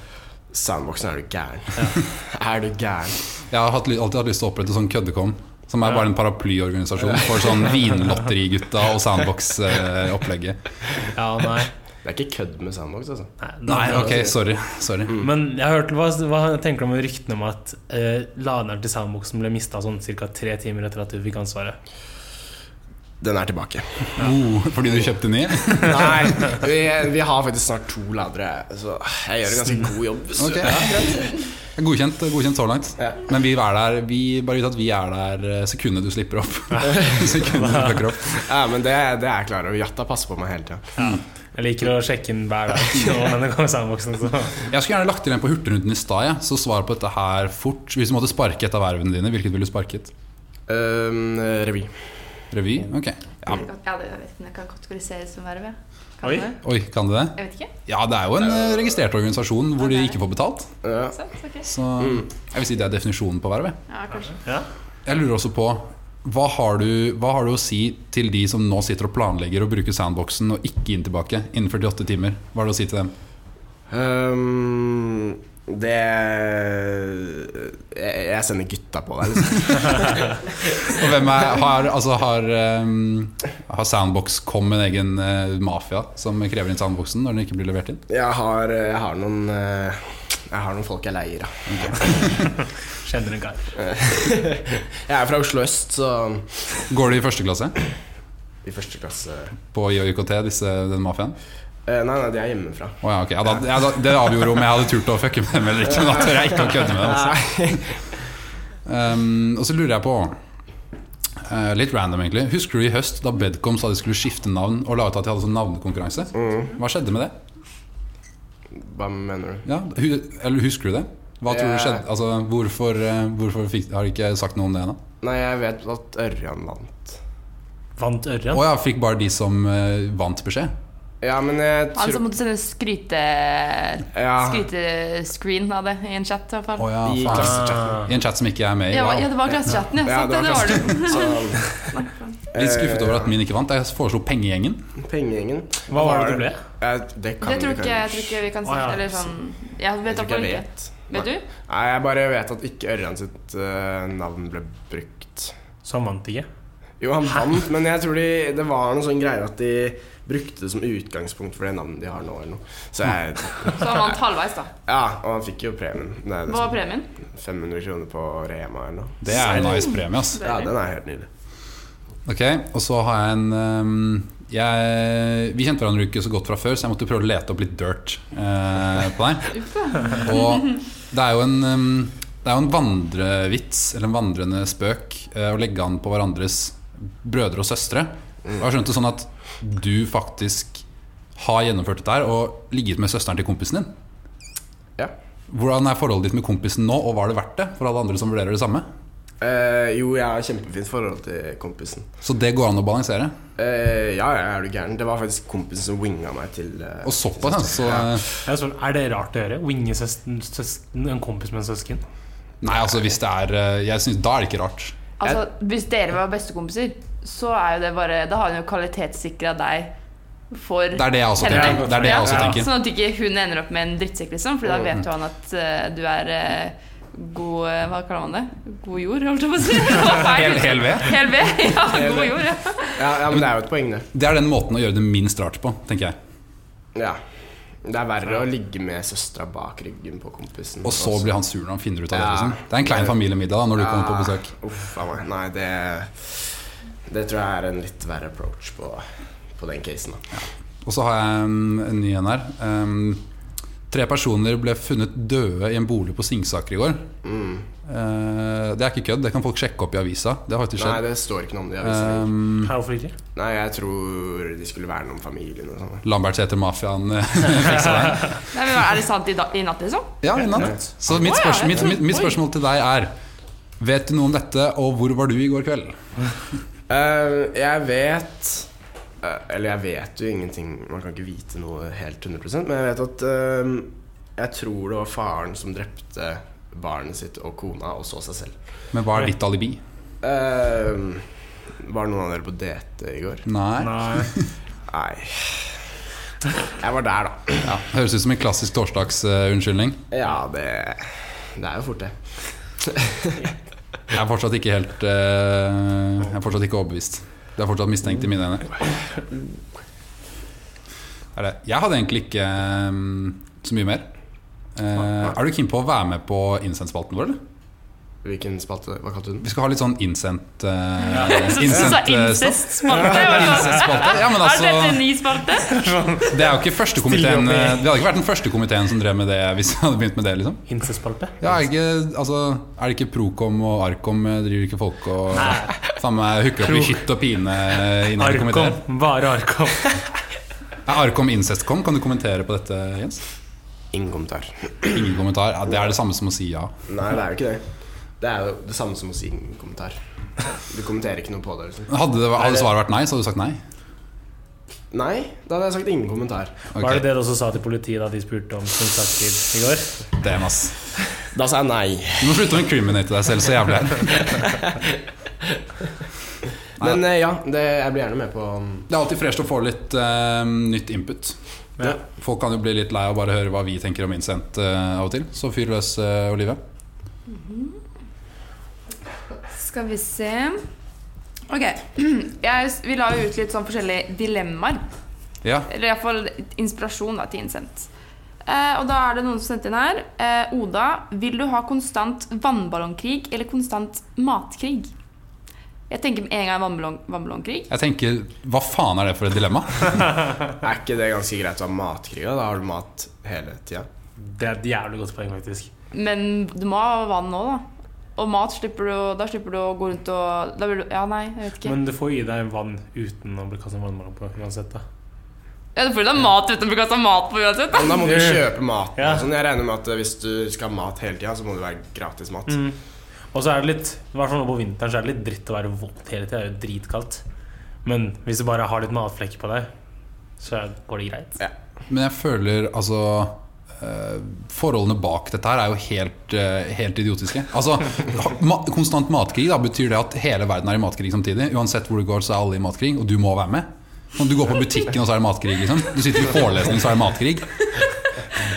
Speaker 4: sandboxen er du gæren. [laughs] Er du gæren?
Speaker 2: Jeg har hatt, ly- alltid hatt lyst til å opprette sånn Køddekom. Som er bare en paraplyorganisasjon for sånn vinlotterigutta og eh, Sandbox-opplegget.
Speaker 1: Ja, nei.
Speaker 4: Det er ikke kødd med sandbox, altså.
Speaker 1: [laughs] nei, da-
Speaker 2: Nei, ok, sorry. sorry.
Speaker 1: Men jeg har hørt, hva, hva tenker du om ryktene om at eh, laderen til soundboxen ble mista sånn ca. tre timer etter at du fikk ansvaret?
Speaker 4: Den er tilbake.
Speaker 2: Oh, fordi du kjøpte ny?
Speaker 4: [laughs] Nei, vi, vi har faktisk snart to ladere, så jeg gjør en ganske god jobb. Så.
Speaker 2: Ok, ja, Godkjent, godkjent så langt.
Speaker 4: Ja.
Speaker 2: Men vi er der vi, bare vit at vi er der eh, sekundet du slipper opp. sekundet du plukker opp
Speaker 4: Ja, men det, det er jeg klar over. Jatta passer på meg hele tida.
Speaker 1: Ja. Jeg liker å sjekke den hver dag. Og denne kommer soundboxen, så
Speaker 2: Jeg skulle gjerne lagt til en på Hurtigrunden i stad, jeg, så svar på dette her fort. Hvis du måtte sparke et av vervene dine, hvilket ville du sparket?
Speaker 4: Um, revy.
Speaker 2: Revy? Ok. Ja.
Speaker 3: Ja, det, jeg vet ikke, det kan kategoriseres som verv. ja. Kan
Speaker 1: Oi.
Speaker 3: det?
Speaker 2: Oi, kan du det?
Speaker 3: Jeg vet ikke.
Speaker 2: Ja, det er jo en eh, registrert organisasjon hvor de ikke får betalt.
Speaker 4: Ja.
Speaker 3: Sant? Ok.
Speaker 2: Så jeg vil si det er definisjonen på vervet.
Speaker 3: Ja, kanskje.
Speaker 1: ja.
Speaker 2: Jeg lurer også på hva har, du, hva har du å si til de som nå sitter og planlegger å bruke soundboxen og ikke inn tilbake innen 48 timer? Hva har du å si til dem?
Speaker 4: Um, det jeg, jeg sender gutta på deg,
Speaker 2: [laughs]
Speaker 4: liksom.
Speaker 2: Og hvem er, har, altså har, ehm, har Soundbox kom en egen eh, mafia som krever inn soundboxen når den ikke blir levert inn?
Speaker 4: Jeg har, jeg har noen eh, Jeg har noen folk jeg leier av.
Speaker 1: Kjenner en kar.
Speaker 4: Jeg er fra Oslo øst, så
Speaker 2: Går de i første klasse
Speaker 4: I første klasse
Speaker 2: på IOIKT, disse, den mafiaen?
Speaker 4: Eh, Nei, nei, de er hjemmefra.
Speaker 2: Å ja, ok. Ja, da, ja, da, det avgjorde om jeg hadde turt å fucke med dem eller ikke. Men da tør jeg ikke å kødde med dem. Altså. Ehm, og så lurer jeg på eh, Litt random, egentlig. Husker du i høst da Bedcom sa de skulle skifte navn og la ut at de hadde sånn navnekonkurranse? Hva skjedde med det?
Speaker 4: Hva mener du?
Speaker 2: Ja, hu eller husker du det? Hva tror du
Speaker 4: Jeg-
Speaker 2: skjedde? Altså, hvorfor eh, hvorfor fikk, har de ikke sagt noe om det ennå?
Speaker 4: Nei, jeg vet at Ørjan vant.
Speaker 1: Vant
Speaker 2: Å
Speaker 1: Ørjan?
Speaker 2: ja, fikk bare de som eh, vant beskjed?
Speaker 4: Ja, men jeg
Speaker 3: Han som
Speaker 4: tror
Speaker 3: måtte sende skryte,
Speaker 4: Ja.
Speaker 3: skrytescreen av det i en chat, i hvert fall.
Speaker 2: Å ja,
Speaker 4: I
Speaker 2: faen.
Speaker 4: klassechatten.
Speaker 1: Ah.
Speaker 2: I en chat som ikke er med i.
Speaker 3: Ja,
Speaker 2: Wow.
Speaker 3: ja, det var klassechatten, ja. Sant, det, det var det.
Speaker 4: klasse-
Speaker 3: [laughs]
Speaker 4: så, eh,
Speaker 2: Litt skuffet over at min ikke vant. Jeg foreslo Pengegjengen.
Speaker 4: Pengegjengen.
Speaker 1: Hva var det det ble?
Speaker 4: Ja, det kan
Speaker 3: Det tror ikke, jeg
Speaker 4: jeg
Speaker 3: tror ikke vi
Speaker 1: Å,
Speaker 3: kan si
Speaker 1: ja.
Speaker 3: Eller sånn Jeg vet
Speaker 4: Jeg tror
Speaker 3: iallfall
Speaker 4: ikke jeg
Speaker 3: ikke.
Speaker 4: vet.
Speaker 3: Vet du?
Speaker 4: Nei, jeg bare vet at ikke Ørjan sitt eh, navn ble brukt.
Speaker 1: Så han vant ikke.
Speaker 4: Jo, han vant, men jeg tror de, det var noen sånn greier at de brukte det som utgangspunkt for det navnet de har nå, eller noe. Så jeg
Speaker 3: Så han vant halvveis,
Speaker 2: [laughs]
Speaker 3: da.
Speaker 4: Ja, og han fikk jo premien. Det er
Speaker 3: Hva var
Speaker 4: liksom
Speaker 3: premien?
Speaker 4: 500 kroner på Rema eller noe.
Speaker 2: Det er en nice premie, ass.
Speaker 4: Ja, den er helt nydelig.
Speaker 2: Ok, og så har jeg en ehm, jeg, Vi kjente hverandre ikke så godt fra før, så jeg måtte prøve å lete opp litt dirt eh, på deg. Og det er jo en ehm, Det er jo en vandrevits, eller en vandrende spøk, eh, å legge an på hverandres brødre og søstre. Og jeg har skjønt det sånn at du faktisk har gjennomført dette her og ligget med søsteren til kompisen din.
Speaker 4: Ja.
Speaker 2: Hvordan er forholdet ditt med kompisen nå, og var det verdt det for alle andre som vurderer det samme?
Speaker 4: Eh, jo, jeg har kjempefint forhold til kompisen.
Speaker 2: Så det går an å balansere.
Speaker 4: Eh, ja, ja, er du gæren? Det var faktisk kompisen som winga meg til eh,
Speaker 2: Og såpass, ja, så eh,
Speaker 1: Jeg spør, er det rart å gjøre? Winge søsten, søsten, en kompis med en søsken?
Speaker 2: Nei, altså hvis det er eh, Jeg synes da er det ikke rart
Speaker 3: Altså, Hvis dere var bestekompiser, så er jo det bare Da har hun jo kvalitetssikra deg for
Speaker 2: Det er det jeg også tenker, det er det jeg også
Speaker 1: Ja.
Speaker 2: tenker. Mm.
Speaker 3: Sånn at ikke hun ender opp med en drittsekk, liksom. Fordi da vet jo han at eh, du er eh, god eh, Hva kaller man det? God jord, holdt jeg på å si. [laughs] Det var feil.
Speaker 2: Hel, hel ved
Speaker 3: Hel ved.
Speaker 2: [laughs]
Speaker 3: Ja, god jord. Ja.
Speaker 2: altså.
Speaker 4: ja, ja, men det er jo et poeng, det.
Speaker 2: Det er den måten å gjøre det minst rart på, tenker jeg
Speaker 4: Ja. Det er verre å ligge med søstera bak ryggen på kompisen.
Speaker 2: Og så blir han sur når han finner ut av det
Speaker 4: Ja.
Speaker 2: liksom. Det er en klein familiemiddag da, når du kommer på besøk
Speaker 4: Uff a meg. Nei, det Det tror jeg er en litt verre approach på, på den casen. Da.
Speaker 2: Og så har jeg mm, en, en ny en her Ehm, Tre personer ble funnet døde i en bolig på Singsaker i går
Speaker 4: Mm.
Speaker 2: Eh, Det er ikke kødd, det kan folk sjekke opp i avisa Det har faktisk
Speaker 4: Nei,
Speaker 2: skjedd
Speaker 4: det står ikke noe om det i avisen.
Speaker 2: Ehm,
Speaker 1: Ja, Hvorfor ikke?
Speaker 4: Nei, jeg tror de skulle verne om familien og sånn.
Speaker 2: Lamberts heter mafiaen [laughs]
Speaker 3: Nei, men Er det sant i, da, i natt, liksom?
Speaker 2: Ja, i natt. Så mitt, spørs, mitt, mitt, mitt spørsmål til deg er Vet du noe om dette, og hvor var du i går kveld?
Speaker 4: Eh, jeg vet eh, Eller jeg vet jo ingenting Man kan ikke vite noe helt 100 Men jeg vet at eh, Jeg tror det var faren som drepte barnet sitt og kona og så seg selv.
Speaker 2: Men hva er ditt alibi?
Speaker 4: Eh, var noen av dere på date i går?
Speaker 2: Nei.
Speaker 1: Nei.
Speaker 4: Nei. Jeg var der, da.
Speaker 2: Ja, høres ut som en klassisk torsdagsunnskyldning.
Speaker 4: Ja, det Det er jo fort, det.
Speaker 2: jeg er fortsatt ikke helt eh, Jeg er fortsatt ikke overbevist. Det er fortsatt mistenkt i mine øyne. Det Er det. Jeg hadde egentlig ikke eh, så mye mer. Eh, er du keen på å være med på innsendt-spalten vår, eller?
Speaker 4: Hvilken spalte? Hva kalte du den?
Speaker 2: Vi skal ha litt sånn insendt uh,
Speaker 3: [laughs] Som du sa incest-spalte.
Speaker 2: [laughs] Ja, men
Speaker 3: Er dette en
Speaker 2: altså,
Speaker 3: ny spalte?
Speaker 2: det er jo ikke første komiteen Vi hadde ikke vært den første komiteen som drev med det hvis vi hadde begynt med det, liksom.
Speaker 1: Hinsespalte?
Speaker 2: Ja, er, det ikke, altså, er det ikke Procom og Arkom eh, driver ikke folk og samme hooker opp i
Speaker 1: Pro-
Speaker 2: hytt og pine eh, innenfor komiteer?
Speaker 1: Arkom. Bare Arkom.
Speaker 2: Er Arkom incestcom? Kan du kommentere på dette, Jens?
Speaker 4: Ingen kommentar.
Speaker 2: Ingen kommentar. Ja, det er det samme som å si ja.
Speaker 4: Nei, det er jo ikke det. Det er jo det samme som å si ingen kommentar. Du kommenterer ikke noe på det. liksom
Speaker 2: Hadde, det, hadde svaret vært nei, så hadde du sagt nei.
Speaker 4: Nei, da hadde jeg sagt ingen kommentar.
Speaker 1: Var det
Speaker 2: Ok,
Speaker 1: det du også sa til politiet da de spurte om kontakttid i går?
Speaker 2: damn ass.
Speaker 4: Da sa jeg nei.
Speaker 2: Du må slutte å incriminate deg selv så jævlig her.
Speaker 4: Men eh, ja, det, jeg blir gjerne med på um,
Speaker 2: Det er alltid fresh å få litt eh, nytt input.
Speaker 1: Ja.
Speaker 2: Folk kan jo bli litt lei av bare å høre hva vi tenker om incent eh, av og til. Så fyr løs, eh, Olivia.
Speaker 3: Skal vi se Ok. [clears throat] Jeg, vi la jo ut litt sånn forskjellige dilemmaer.
Speaker 2: Ja.
Speaker 3: Eller iallfall inspirasjon da, til innsendt. Eh, og da er det noen som sendte inn her. Eh, Oda, vil du ha konstant vannballongkrig eller konstant matkrig? Jeg tenker med en gang vannballong, vannballongkrig.
Speaker 2: Jeg tenker, hva faen er det for et dilemma?
Speaker 4: Er ikke det ganske greit å ha matkrig? Da Da har du mat hele tida.
Speaker 1: Det er et jævlig godt poeng, faktisk.
Speaker 3: Men du må ha vann nå, da. Og mat slipper du, da slipper du å gå rundt og da blir du, Ja, nei, jeg vet ikke.
Speaker 1: Men du får gi deg vann uten å bli kastet en vannballong på uansett. da
Speaker 3: ja, du får jo da mat uten å bli kasta mat på uansett. Da.
Speaker 4: Men da må du kjøpe mat.
Speaker 1: Ja.
Speaker 4: Sånn, jeg regner med at eh, Hvis du skal ha mat hele tida, så må det være gratis mat.
Speaker 1: Mm. Og så er det litt I hvert fall nå på vinteren så er det litt dritt å være våt hele tida. Det er jo dritkaldt. Men hvis du bare har litt matflekker på deg, så går det greit.
Speaker 2: Men jeg føler altså eh, Forholdene bak dette her er jo helt, eh, helt idiotiske. Altså, ha- ma Konstant matkrig da betyr det at hele verden er i matkrig samtidig. Uansett hvor du går, så er alle i matkrig, og du må være med. Om du går på butikken, og så er det matkrig. Liksom. Du sitter i forelesning, så er det matkrig.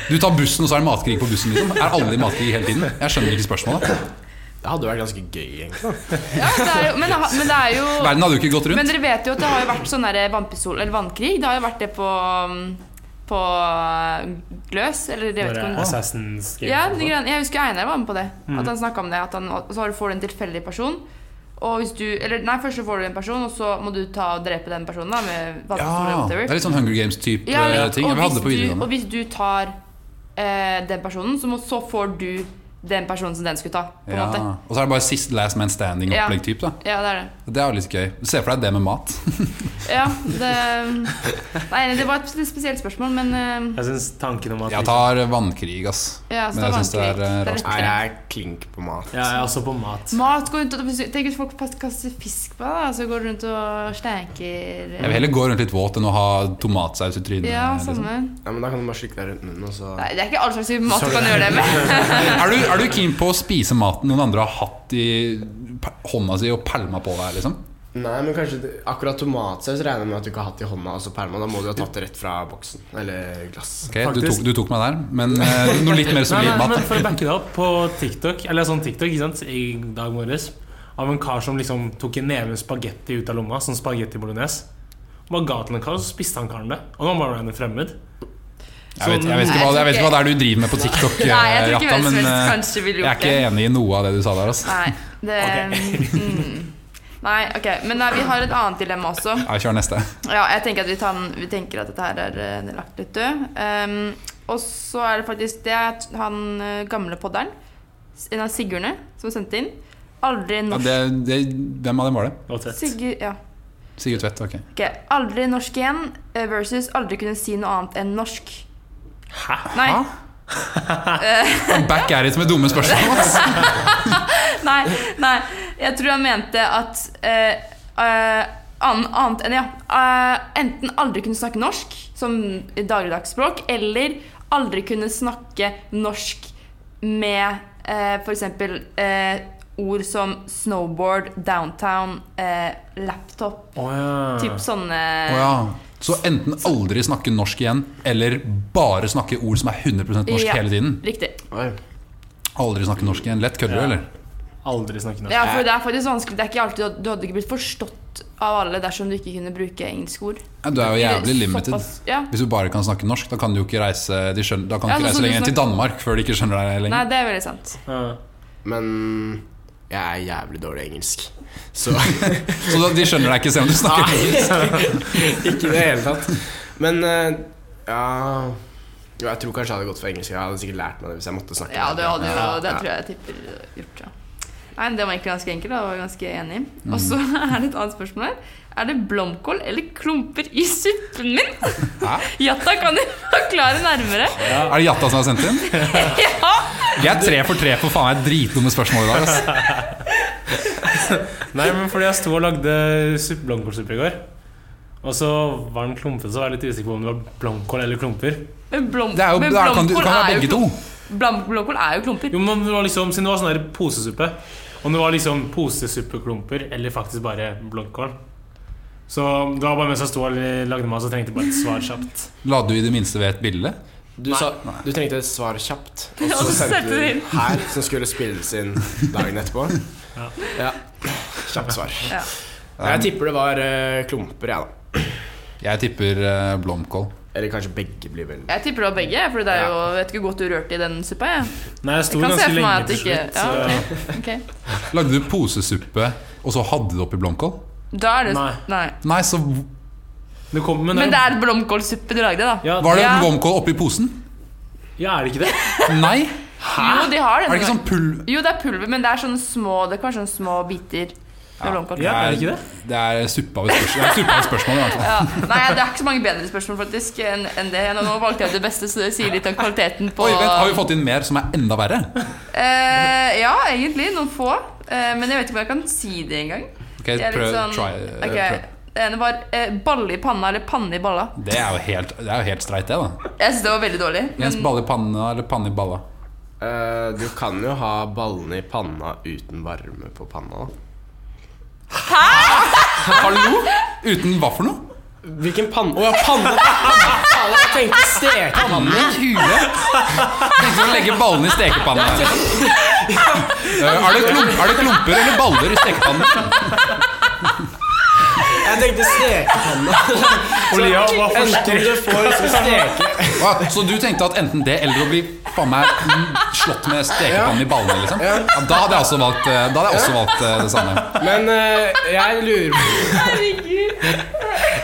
Speaker 2: Du tar bussen, og så er det matkrig på bussen. Liksom. Er alle i matkrig hele tiden? Jeg skjønner ikke spørsmålet.
Speaker 4: Det hadde vært ganske gøy, egentlig.
Speaker 3: Ja, det er jo, men, det har- men det er jo
Speaker 2: Verden hadde jo ikke gått
Speaker 3: Men
Speaker 2: rundt.
Speaker 3: dere vet jo at det har jo vært sånn der vannpistol Eller vannkrig. Det har jo vært det på um, På uh, Gløs. Eller jeg vet
Speaker 1: Bare
Speaker 3: ikke om
Speaker 1: Assassin's Creed.
Speaker 3: ja, de greiene- Jeg husker Einar var med på det.
Speaker 2: Mm.
Speaker 3: At han snakket om det. At han, og så har du- får du en tilfeldig person. Og hvis du, eller nei, Først så får du en person, og så må du ta og drepe den personen. Da,
Speaker 2: Ja,
Speaker 3: med vannpistol eller
Speaker 2: det
Speaker 3: whatever.
Speaker 2: er litt sånn Hunger Games-type
Speaker 3: Ja,
Speaker 2: eh, ting.
Speaker 3: og,
Speaker 2: Vi hadde det på
Speaker 3: hvis du,
Speaker 2: videregående.
Speaker 3: og hvis du tar eh, den personen, så, må, så får du den personen som den skulle ta. På en
Speaker 2: Ja.
Speaker 3: måte
Speaker 2: Og så er det bare sist last man
Speaker 3: Ja.
Speaker 2: standing-opplegg-type. da
Speaker 3: Ja, det er det.
Speaker 2: Det er jo litt gøy. Se for deg det med mat.
Speaker 3: Ja, det, mm.
Speaker 2: [laughs]
Speaker 3: nei, det var et spesielt spørsmål, men eh,
Speaker 1: Jeg syns tanken om at
Speaker 2: Jeg tar vannkrig, ass.
Speaker 3: Ja, så
Speaker 2: Men jeg syns det er
Speaker 3: vanskelig.
Speaker 2: eh,
Speaker 3: Det
Speaker 2: rart.
Speaker 3: er
Speaker 4: Nei,
Speaker 3: lettere.
Speaker 4: jeg er klink på mat.
Speaker 1: Ja, jeg er også på mat.
Speaker 3: Mat går rundt og Tenk hvis folk pas- kaster fisk på deg, da, så går du rundt og
Speaker 2: Jeg
Speaker 3: steker
Speaker 2: vil heller gå rundt litt våt enn å ha tomatsaus i trynet.
Speaker 3: Ja, sånn,
Speaker 2: liksom.
Speaker 3: samme.
Speaker 4: Ja, men Da kan du bare slikke deg rundt munnen, og så
Speaker 3: Nei, det er ikke all slags type mat du kan gjøre det med.
Speaker 2: er, du, er du keen på å spise maten noen andre har hatt i pa- hånda si og pælma på deg? liksom?
Speaker 4: Nei, men kanskje det- akkurat tomatsaus regner jeg med at du ikke har hatt i hånda. Altså perma, Da må du ha tatt det rett fra boksen eller glass.
Speaker 2: Ok, du tok,
Speaker 1: Faktisk.
Speaker 2: du tok meg der, men eh, noe litt mer
Speaker 1: Nei,
Speaker 2: solid
Speaker 1: nei,
Speaker 2: mat.
Speaker 1: men
Speaker 2: da.
Speaker 1: For å backe det opp på TikTok Eller sånn TikTok ikke sant? i dag morges av en kar som liksom tok en neve spagetti ut av lomma, sånn spagetti bolognese. Og Bare ga til en kar, og så spiste han karen det. Og nå var han en fremmed.
Speaker 2: Jeg vet,
Speaker 1: sånn-
Speaker 2: jeg, vet ikke hva, jeg vet ikke hva det er du driver med på Tiktok, eh,
Speaker 3: Nei, jeg tror ikke
Speaker 2: Jatta,
Speaker 3: hvem som
Speaker 2: men
Speaker 3: helst
Speaker 2: eh,
Speaker 3: kanskje ville
Speaker 2: jeg er
Speaker 3: gjort
Speaker 2: ikke
Speaker 3: det.
Speaker 2: enig i noe av det du sa der. ass.
Speaker 3: Nei, det mm. Nei, ok. Men nei, vi har et annet dilemma også.
Speaker 2: Jeg kjører neste.
Speaker 3: Ja, jeg tenker at vi, tar, den- vi tenker at dette her er eh, lagt litt død. Ehm, og så er det faktisk det at han eh, gamle podderen, en av Sigurdene, som sendte inn Aldri
Speaker 2: Ja,
Speaker 3: norsk
Speaker 2: det, det, hvem av dem var det?
Speaker 1: Og tett.
Speaker 3: Sigurd, ja.
Speaker 2: Sigurd Tvedt. ok
Speaker 3: Ok, Aldri norsk igjen eh, versus aldri kunne si noe annet enn norsk.
Speaker 1: Hæ?
Speaker 3: Nei.
Speaker 2: Hæ? Back at it med dumme spørsmål. ass.
Speaker 3: nei, nei. Jeg tror han mente at eh, eh, annen- annet enn ja. eh, enten aldri kunne snakke norsk som dagligdagsspråk, eller aldri kunne snakke norsk med uh, f.eks. eh, ord som snowboard, downtown, eh, laptop.
Speaker 1: Å ja.
Speaker 3: Typ sånne
Speaker 2: Å ja. Så
Speaker 3: Eh,
Speaker 2: enten aldri snakke norsk igjen, eller bare snakke ord som er 100 norsk
Speaker 3: Ja,
Speaker 2: hele tiden.
Speaker 3: Riktig.
Speaker 4: Oi.
Speaker 2: Aldri snakke norsk igjen. Lett kødder du,
Speaker 1: Ja.
Speaker 2: eller?
Speaker 1: Aldri snakke norsk.
Speaker 3: Ja, for det er faktisk vanskelig. Det er ikke alltid Du hadde ikke blitt forstått av alle dersom du ikke kunne bruke engelske ord.
Speaker 2: Ja, du er jo jævlig limited.
Speaker 3: Såpass, ja.
Speaker 2: Hvis du bare kan snakke norsk, da kan du jo ikke reise, de skjønner, da kan du
Speaker 3: Ja,
Speaker 2: ikke
Speaker 3: sånn
Speaker 2: reise
Speaker 3: som du
Speaker 2: lenger enn til
Speaker 3: snakker-
Speaker 2: Danmark før de ikke skjønner deg
Speaker 3: Nei,
Speaker 2: lenger.
Speaker 3: det er veldig sant.
Speaker 1: Ja.
Speaker 4: Men Jeg er jævlig dårlig i engelsk.
Speaker 1: [laughs]
Speaker 4: Så
Speaker 2: Så da- de skjønner deg ikke selv om du
Speaker 3: Ah,
Speaker 2: snakker
Speaker 4: Nei, ikke i det hele tatt. Men eh, ja jo, jeg tror kanskje jeg hadde gått for engelsk. Jeg hadde sikkert lært meg det hvis jeg måtte snakke.
Speaker 3: Ja, det hadde jo
Speaker 4: Ja,
Speaker 3: Det
Speaker 4: ja.
Speaker 3: tror jeg jeg tipper du hadde gjort, ja. Nei, men Det var egentlig ganske enkelt. da, Jeg var ganske enig
Speaker 2: Mm.
Speaker 3: Og så [laughs] er det et annet spørsmål her. Er det blomkål eller klumper i suppen min?
Speaker 2: Hæ?
Speaker 3: [laughs] Jatta, kan du forklare nærmere?
Speaker 2: Er det Jatta som har sendt inn?
Speaker 3: Ja!
Speaker 2: Jeg er tre for tre, for faen. Jeg er dritdumme spørsmål i dag. ass.
Speaker 1: Nei, men fordi jeg sto og lagde suppe- blomkålsuppe i går. Og så var den klumpete, så var jeg litt usikker på om det var blomkål eller klumper.
Speaker 3: Men, blom,
Speaker 2: Det er jo,
Speaker 3: men
Speaker 2: det er, kan du, kan være
Speaker 3: er
Speaker 2: begge
Speaker 3: jo
Speaker 2: to.
Speaker 3: klum- blam- blomkål er jo klumper.
Speaker 1: Jo, men det var liksom, Siden det var sånn der posesuppe, om det var liksom posesuppeklumper eller faktisk bare blomkål Så det var bare mens jeg sto og lagde mat, så trengte jeg bare et svar kjapt.
Speaker 2: La du i det minste ved et bilde?
Speaker 4: Du, sa, du trengte et svar kjapt,
Speaker 3: [laughs]
Speaker 4: og
Speaker 3: Ja,
Speaker 4: så
Speaker 3: og så
Speaker 4: sendte
Speaker 3: sendte
Speaker 4: du
Speaker 3: du
Speaker 4: den
Speaker 3: inn.
Speaker 4: her, som skulle spilles inn dagen etterpå. Ja. Kjapt svar.
Speaker 3: Ja.
Speaker 4: Jeg tipper det var eh, klumper, jeg, da.
Speaker 2: Jeg tipper eh, blomkål.
Speaker 4: Eller kanskje begge blir vel
Speaker 3: Jeg tipper det var begge, for det er jo jeg vet ikke godt du rørte i den suppa. jeg.
Speaker 1: Nei, jeg sto
Speaker 3: Jeg kan se
Speaker 1: ganske
Speaker 3: for meg
Speaker 1: lenge
Speaker 3: at det
Speaker 1: til
Speaker 3: ikke
Speaker 1: slutt.
Speaker 3: ja,
Speaker 1: så-
Speaker 3: ok. ok.
Speaker 2: Lagde du posesuppe, og så hadde du oppi blomkål?
Speaker 3: Da er det
Speaker 1: Nei.
Speaker 3: Nei.
Speaker 2: Nei, så
Speaker 1: Det kom, men,
Speaker 3: Men det er blomkålsuppe du lagde, da.
Speaker 1: ja,
Speaker 2: var det
Speaker 3: Ja.
Speaker 2: blomkål oppi posen?
Speaker 1: ja, er det [laughs] ikke det?
Speaker 2: Nei?
Speaker 3: Jo, de har det.
Speaker 2: Er det ikke sånn pul...
Speaker 3: Jo, det er pulver, men det er sånne små Det kan være sånne små biter med blomkål.
Speaker 1: Ja, er det ikke det?
Speaker 2: Det er suppe av et spørsmål, det er suppe av et spørsmål i hvert fall.
Speaker 3: Ja. Nei, det er ikke så mange bedre spørsmål faktisk enn enn det. Nå nå valgte jeg det beste, så det sier litt om kvaliteten på
Speaker 2: Oi, vent, har vi fått inn mer som er enda verre?
Speaker 3: Eh, Ja, egentlig. Noen få. Eh, men jeg vet ikke om jeg kan si det engang.
Speaker 2: Ok,
Speaker 3: Jeg er litt
Speaker 2: prøv,
Speaker 3: sånn-
Speaker 2: try, eh,
Speaker 3: Ok,
Speaker 2: prøv.
Speaker 3: Det ene var eh, balle i panna eller panne i balla.
Speaker 2: Det er jo helt, det er jo helt streit, det, da.
Speaker 3: Jeg syns det var veldig dårlig.
Speaker 2: Jens balle i panna eller panne i balla?
Speaker 4: Eh, Du kan jo ha ballene i panna uten varme på panna. da.
Speaker 2: Hallo? Uten hva for noe?
Speaker 4: Hvilken panne? Å ja, panne! Faen, Jeg tenkte steke
Speaker 2: Panne i huet? Tenkte du å legge ballene i stekepanna? Eh, Er det, klump, er det klumper eller baller i stekepannen?
Speaker 4: Jeg tenkte stekepanne.
Speaker 1: Olia var
Speaker 4: Enten
Speaker 1: forskrekket.
Speaker 4: du får liksom steke
Speaker 2: Å, Så du tenkte at enten det eller å bli faen meg slått med stekepannen i ballene? liksom ja, Da hadde jeg også valgt, eh, da hadde jeg også valgt eh, det samme.
Speaker 4: Men eh, jeg lurer på
Speaker 3: Herregud.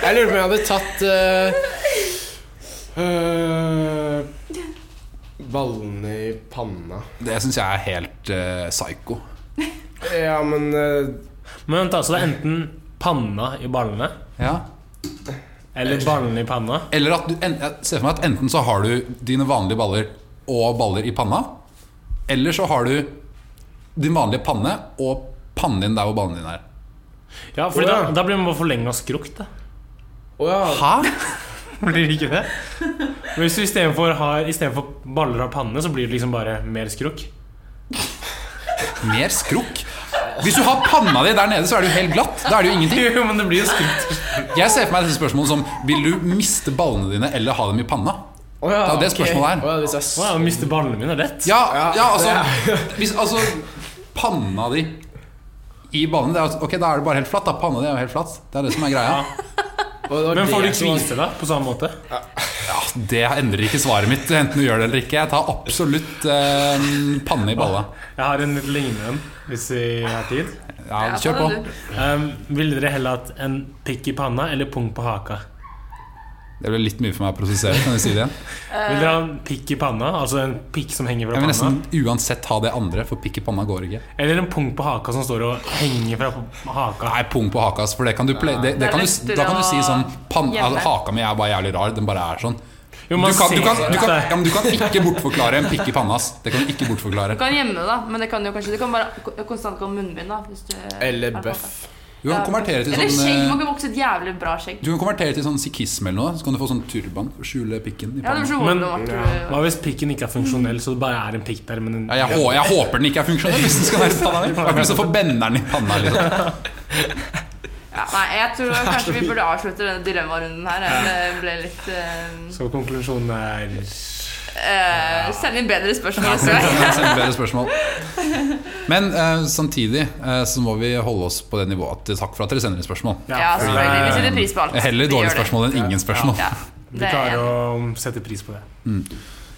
Speaker 4: Jeg lurer på om jeg hadde tatt eh, eh, Ballene i panna
Speaker 2: Det syns jeg er helt eh, psycho.
Speaker 4: Ja, men eh,
Speaker 1: Men vent, altså, det er enten panna i ballene
Speaker 2: Ja.
Speaker 1: eller ballene i panna.
Speaker 2: Eller at du en, jeg ser for meg at enten så har du dine vanlige baller og baller i panna, eller så har du din vanlige panne og pannen din der hvor ballen din er.
Speaker 1: Ja, for
Speaker 4: Å, ja.
Speaker 1: da, da blir man bare forlenga skrukt, da.
Speaker 4: Å ja.
Speaker 2: Hæ?
Speaker 1: Blir det ikke det? Men hvis du istedenfor har- istedenfor baller har panne, så blir det liksom bare mer skrukk.
Speaker 2: Mer skrukk? Hvis du har panna di der nede, så er du helt glatt. Da er det jo ingenting.
Speaker 1: Jo, men det blir jo skrukt.
Speaker 2: Jeg ser for meg dette spørsmålet som Vil du miste ballene dine eller ha dem i panna?
Speaker 4: Å ja,
Speaker 2: Det er det
Speaker 4: ok.
Speaker 2: spørsmålet er.
Speaker 4: Å ja, hvis jeg s-
Speaker 1: Å ja, miste ballene mine er lett.
Speaker 2: Ja,
Speaker 4: Ja,
Speaker 2: ja altså, hvis, altså Panna di i ballene det er, altså- Ok, da er det bare helt flatt. Da. Panna di er jo helt flatt. Det er det som er greia.
Speaker 4: Og det var
Speaker 1: Men får du
Speaker 4: det som var-
Speaker 1: kvise da, på samme måte?
Speaker 2: Ja, Det endrer ikke svaret mitt, enten du gjør det eller ikke. Jeg tar absolutt eh, panne i balla.
Speaker 1: Jeg har en litt lignende en, hvis vi har tid.
Speaker 2: Ja,
Speaker 3: Ja,
Speaker 2: kjør
Speaker 3: ta
Speaker 2: på.
Speaker 3: det, du.
Speaker 1: Um, ville dere heller hatt en pikk i panna eller pung på haka?
Speaker 2: Det ble litt mye for meg å prosessere. Kan du si det igjen?
Speaker 1: Vil dere ha en pikk i panna, altså en pikk som henger fra
Speaker 2: Jeg vil
Speaker 1: panna?
Speaker 2: nesten uansett ha det andre, for pikk i panna går ikke.
Speaker 1: Eller en pung på haka som står og henger fra haka?
Speaker 2: Nei, pung på haka, ass, for det kan du ple det, det
Speaker 3: er
Speaker 2: kan du,
Speaker 3: lettere
Speaker 2: Da kan du si
Speaker 3: å
Speaker 2: sånn pan,
Speaker 3: gjemme.
Speaker 2: altså, Haka mi er bare jævlig rar. Den bare er sånn.
Speaker 1: Jo,
Speaker 2: Du
Speaker 1: man
Speaker 2: kan, du, kan,
Speaker 1: ser
Speaker 2: du, kan,
Speaker 1: at det-
Speaker 2: ja, men du kan ikke bortforklare en pikk i panna. ass. Det kan du ikke bortforklare.
Speaker 3: Du kan gjemme det, da, men det kan jo kanskje Du kan bare ko- konstant gå med munnbind, da. Hvis du
Speaker 4: Eller bøff.
Speaker 2: Du kan konvertere til
Speaker 3: Eller skjegg. Må
Speaker 2: sånn eh,
Speaker 3: ikke vokse et jævlig bra skjegg.
Speaker 2: Du kan konvertere til sånn sikhisme eller noe. Så kan du få sånn turban for å skjule pikken. i
Speaker 3: Ja, det
Speaker 2: panna.
Speaker 3: blir så
Speaker 1: Men-
Speaker 3: vondt når du
Speaker 1: Hva hvis pikken ikke er funksjonell, så det bare er en pikk der? Men en...
Speaker 2: Ja, jeg, hå jeg håper den ikke er funksjonell. Hvis den skal være i panna mi. Jeg har ikke lyst til å få benderen i panna. Liksom.
Speaker 3: ja, Nei, jeg tror kanskje vi burde avslutte denne dilemmarunden her. eh. Det ble litt eh,
Speaker 1: Så konklusjonen er
Speaker 3: eh, Send inn bedre spørsmål neste [laughs] gang.
Speaker 2: Det er et bedre spørsmål. Men eh, samtidig eh, så må vi holde oss på det nivået at eh, takk for at dere sender inn spørsmål. Eh,
Speaker 3: Ja, selvfølgelig. Vi
Speaker 1: Eh,
Speaker 3: setter pris på alt.
Speaker 2: Heller
Speaker 3: Vi gjør
Speaker 2: dårlige
Speaker 3: det.
Speaker 2: spørsmål enn ingen spørsmål.
Speaker 3: Ja,
Speaker 1: Vi
Speaker 3: det er
Speaker 1: klarer
Speaker 3: jeg.
Speaker 1: å sette pris på det.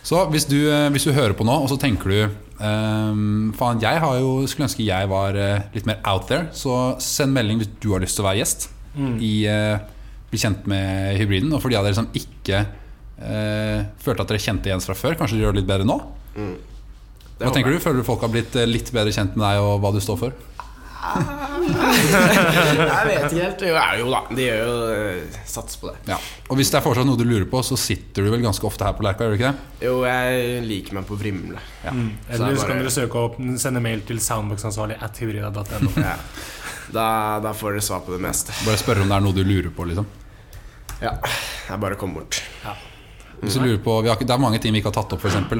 Speaker 2: Så hvis du, eh, hvis du hører på nå, og så tenker du ehm, Faen, jeg har jo, skulle ønske jeg var eh, litt mer out there. Så send melding hvis du har lyst til å være gjest.
Speaker 4: Mm.
Speaker 2: I, eh, bli kjent med hybriden. Og for de av dere som ikke eh, følte at dere kjente Jens fra før, kanskje dere gjør det litt bedre nå?
Speaker 4: Det
Speaker 2: Hva
Speaker 4: håper
Speaker 2: tenker
Speaker 4: jeg.
Speaker 2: du? Føler du folk har blitt eh, litt bedre kjent med deg og hva du står for?
Speaker 4: Jeg vet ikke helt. Jo, ja, jo da, de gjør jo eh, Sats på det.
Speaker 2: Ja. Og hvis det er fortsatt noe du lurer på, så sitter du vel ganske ofte her på Lerka, gjør du ikke det?
Speaker 4: Jo, jeg liker meg på Vrimle. Så det er
Speaker 1: Eller så
Speaker 4: bare-
Speaker 1: kan dere søke opp sende mail til soundboxansvarlig at
Speaker 4: [laughs]
Speaker 1: hybrida.no.
Speaker 4: Ja. Da, da får dere svar på det meste.
Speaker 2: Bare spørre om det er noe du lurer på, liksom.
Speaker 4: Ja, jeg bare kom bort.
Speaker 2: Hvis du lurer på, vi har, ikke- Det er mange ting vi ikke har tatt opp, f.eks.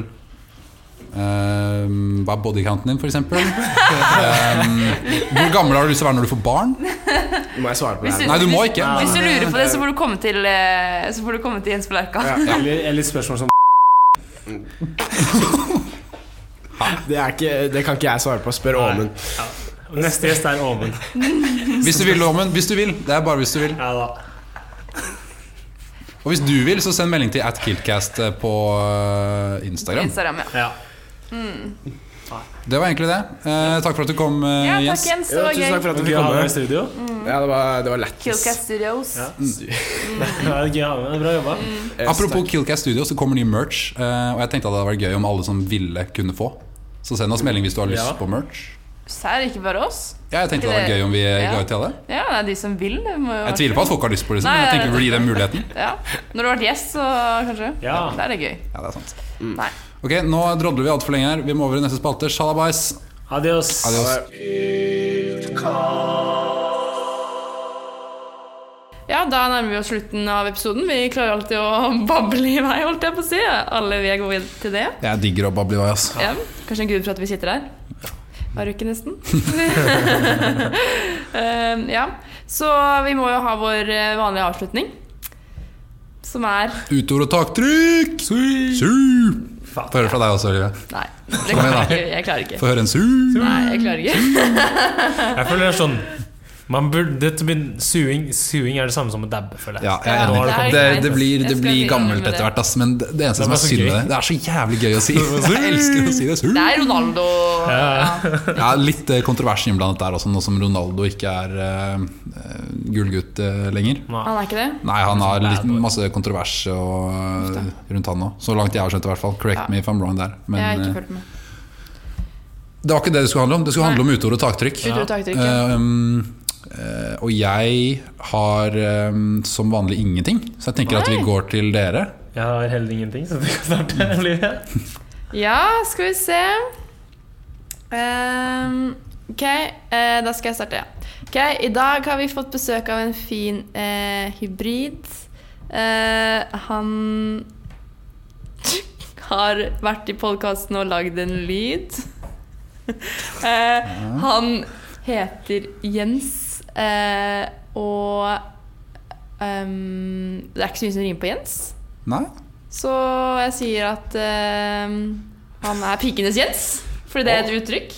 Speaker 2: Um, hva er bodycounten din, f.eks.? Um, hvor gammel har du lyst til å være når du får barn?
Speaker 4: Må jeg svare på det
Speaker 3: Hvis
Speaker 4: her?
Speaker 3: du-
Speaker 2: Nei, du må ikke.
Speaker 3: Hvis
Speaker 2: Men,
Speaker 3: du lurer på det, så får du komme til, eh, så får du komme til Jens på Lerka.
Speaker 4: Ja.
Speaker 1: Eller, eller spørsmål som
Speaker 4: Det, er ikke, det kan ikke jeg svare på. Spør Åmund.
Speaker 1: Neste gjest er Åmen.
Speaker 2: hvis du vil, Åmund. Hvis du vil. Det er bare hvis du vil.
Speaker 1: Ja da.
Speaker 2: Og hvis du vil, så send melding til at Kiltcast på eh, Instagram.
Speaker 3: Instagram, ja.
Speaker 1: Ja.
Speaker 2: Det var egentlig det. Eh, takk for at du kom, eh,
Speaker 3: ja.
Speaker 2: Jens.
Speaker 3: Takk, Jens. Det
Speaker 4: Jo,
Speaker 3: var
Speaker 4: tusen takk
Speaker 3: gøy.
Speaker 4: for at du
Speaker 1: Gøy å
Speaker 4: kunne
Speaker 1: ha deg i
Speaker 4: komme.
Speaker 1: studio.
Speaker 4: Ja, det var, det var lættis.
Speaker 3: Killcast Studios.
Speaker 1: Ja.
Speaker 2: Mm.
Speaker 1: Ja, [laughs] det er gøy å ha med. Bra jobba.
Speaker 4: Eh,
Speaker 2: Apropos Killcast Studio, så kommer ny merch. eh, Og jeg tenkte at det hadde vært gøy om alle som ville, kunne få. Så send oss melding hvis du har lyst
Speaker 1: Ja.
Speaker 2: på merch.
Speaker 3: Sær, ikke bare oss.
Speaker 2: Ja, jeg tenkte det hadde vært gøy om vi ga ut til alle.
Speaker 3: Ja, det er de som vil. Det må jo
Speaker 2: Jeg tviler på at folk har lyst på det, liksom. men
Speaker 3: Nei,
Speaker 2: jeg tenker vi
Speaker 3: nei,
Speaker 2: burde gi dem muligheten.
Speaker 3: Ja. Når du har vært gjest, så kanskje.
Speaker 1: Ja.
Speaker 3: Da er det gøy.
Speaker 2: Ja, det er sant.
Speaker 3: Nei.
Speaker 2: Ok, nå drodler vi altfor lenge her. Vi må over i neste spalte. Shalabais.
Speaker 1: Adios.
Speaker 2: Adios.
Speaker 3: Ja, da nærmer vi oss slutten av episoden. Vi klarer alltid å [laughs] bable i vei, holdt jeg på å si. Alle vi er gode til det.
Speaker 2: Jeg digger å bable i vei, ass.
Speaker 3: Ja. Kanskje en gud for at vi sitter her. Hver uke, nesten. [laughs] Eh, ja. Så vi må jo ha vår eh, vanlige avslutning, som er
Speaker 2: Utord og taktrykk! Su! Få høre fra deg også, Olive.
Speaker 3: Nei, det klarer jeg ikke. Jeg klarer ikke.
Speaker 2: Få høre en su.
Speaker 3: Nei, jeg klarer ikke.
Speaker 1: Jeg føler det er sånn man burde, dette blir, suing, suing er det samme som å dabbe, føler jeg.
Speaker 2: Ja, jeg er
Speaker 1: Nå har det
Speaker 2: enig.
Speaker 1: kommet-
Speaker 2: Det, det blir, det
Speaker 3: Jeg skal
Speaker 2: blir
Speaker 3: begynne
Speaker 2: gammelt
Speaker 3: med det.
Speaker 2: etter hvert, ass. Men det det eneste
Speaker 1: Det
Speaker 2: som
Speaker 1: var
Speaker 2: er
Speaker 1: så
Speaker 2: synd
Speaker 1: gøy.
Speaker 2: med det, det er så jævlig gøy å si. Jeg elsker å si det. Su!
Speaker 3: Det er Ronaldo. Ja.
Speaker 2: Ja, litt eh, kontrovers innblandet der også, nå som Ronaldo ikke er eh, eh, gullgutt eh, lenger.
Speaker 3: Han er ikke det?
Speaker 2: Nei, han har
Speaker 1: Bad
Speaker 2: litt,
Speaker 1: boy.
Speaker 2: masse kontrovers og, eh, rundt han òg. Så langt jeg har skjønt det, i hvert fall. Correct
Speaker 3: Ja.
Speaker 2: me if I'm wrong der.
Speaker 3: jeg
Speaker 2: Men
Speaker 3: har ikke
Speaker 2: eh,
Speaker 3: fulgt med.
Speaker 2: det var ikke det det skulle handle om. Det skulle handle om utord og taktrykk.
Speaker 3: Utro taktrykk. ja.
Speaker 2: Eh, um, eh, og jeg har um, som vanlig ingenting, så jeg tenker at vi
Speaker 3: Nei.
Speaker 2: går til dere.
Speaker 1: Jeg har heller ingenting, så du kan
Speaker 2: Mm.
Speaker 1: [laughs] starte. Olivia.
Speaker 3: Ja, skal vi se Ehm, Ok, eh, da skal jeg starte ja. Ok, i dag har vi fått besøk av en fin eh, hybrid Eh, Han [laughs] har vært i podcasten og lagd en lyd [laughs] Eh, Han heter Jens eh, Og ehm, det er ikke så mye som rimer på Jens
Speaker 2: Nei?
Speaker 3: så jeg sier at ehm, han er pikenes Jens, fordi det er et uttrykk.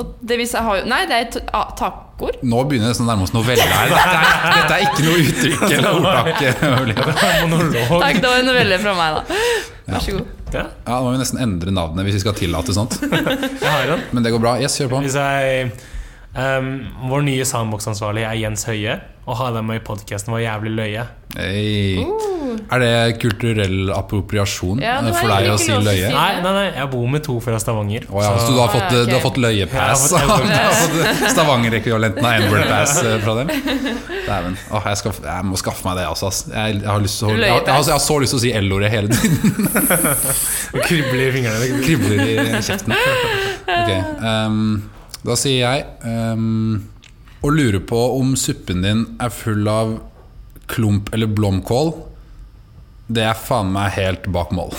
Speaker 3: Og det vil si har jo Nei, det er et ta- ah, takord.
Speaker 2: Nå begynner det nesten å nærme oss novelle her. Dette er, dette er ikke noe uttrykk eller ordtak. Olivia.
Speaker 1: Monolog.
Speaker 3: Takk, det var en novelle fra
Speaker 2: [laughs]
Speaker 3: meg, da. Vær så god.
Speaker 1: Ja,
Speaker 2: Ja, Da må vi nesten endre navnet hvis vi skal tillate sånt.
Speaker 1: jeg har en.
Speaker 2: Men det går bra. Yes, kjør på.
Speaker 1: Hvis jeg ehm, Vår nye soundbox-ansvarlig er Jens Høie. Å ha dem med i podkasten var jævlig løye.
Speaker 2: Hey. Er det kulturell appropriasjon
Speaker 3: Oh. Ja, det
Speaker 2: eh,
Speaker 3: var
Speaker 2: for deg
Speaker 3: egentlig
Speaker 2: å
Speaker 3: ikke
Speaker 2: si
Speaker 3: lov til å
Speaker 2: løye?
Speaker 3: si.
Speaker 1: Nei, nei, nei, jeg bor med to fra Stavanger.
Speaker 2: Å ja, så du har fått, eh,
Speaker 3: Ah, ok.
Speaker 2: du har fått løyepass?
Speaker 1: Jeg har fått-
Speaker 2: [laughs] Du har fått Stavanger-ekvivalenten av N-word-pass eh, fra
Speaker 1: [laughs]
Speaker 2: dem? Dæven. Åh, jeg, skal, jeg må skaffe meg det også, ass. Jeg, jeg, har, lyst til å, jeg, har, jeg, har, jeg har så lyst til å si L-ordet hele tiden. [laughs]
Speaker 1: [laughs] Det kribler i fingrene.
Speaker 2: Kribler i kjeften. Ok, ehm, da sier jeg ehm, Å lure på om suppen din er full av klump eller blomkål, det er faen meg helt bak
Speaker 3: [laughs]
Speaker 2: mål.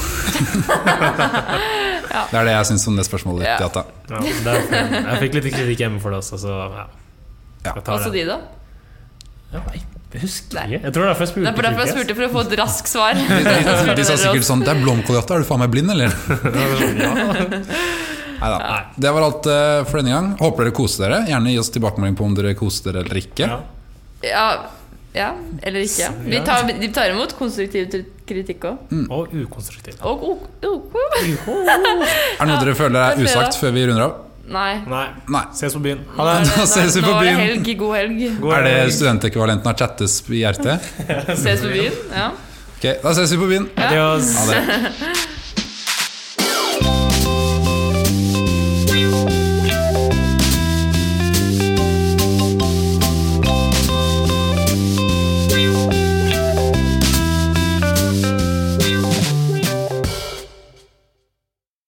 Speaker 2: [laughs] Det er det jeg syns om det spørsmålet ditt.
Speaker 3: Ja.
Speaker 2: Jata.
Speaker 1: Ja, det er fair. jeg fikk litt kritikk hjemme for det også, så ja.
Speaker 2: Ja.
Speaker 1: Jeg tar
Speaker 3: Også
Speaker 1: det.
Speaker 3: de, da.
Speaker 1: Ja, nei, det husker
Speaker 3: Nei.
Speaker 1: jeg. Jeg tror det er derfor jeg
Speaker 3: Det
Speaker 1: spurte.
Speaker 3: er derfor jeg
Speaker 1: Lukas.
Speaker 3: spurte, for å få et raskt
Speaker 2: [laughs]
Speaker 3: svar.
Speaker 2: De, de, de sa sikkert sånn Det er blomkål, Jata. Er du faen meg
Speaker 1: [laughs]
Speaker 2: blind, eller?
Speaker 1: sånn,
Speaker 2: Neida.
Speaker 1: Nei.
Speaker 2: Det var alt eh, sånn. for denne gang. Håper dere koser dere. Gjerne gi oss tilbakemelding på om dere koser dere eller ikke.
Speaker 1: Ja.
Speaker 3: Ja, Ja, eller ikke. Vi tar, de tar imot konstruktiv kritikk òg.
Speaker 2: Mm.
Speaker 1: Og ukonstruktiv.
Speaker 3: Og OK
Speaker 2: Er det noe dere føler er
Speaker 3: Det er fredag.
Speaker 2: usagt før vi runder av?
Speaker 3: Nei.
Speaker 1: Nei.
Speaker 2: Nei.
Speaker 1: Ses på byen. Ha
Speaker 2: Nei,
Speaker 1: det.
Speaker 2: [laughs] Da ses vi
Speaker 3: Nå
Speaker 2: på
Speaker 3: var det
Speaker 2: byen.
Speaker 3: helg. God helg.
Speaker 1: God
Speaker 2: Er det
Speaker 1: helg.
Speaker 2: studentekvivalenten av chattes i RT?
Speaker 3: Ses på byen. Ja.
Speaker 2: Ok, da ses vi på byen.
Speaker 1: Adios.
Speaker 2: Ha det.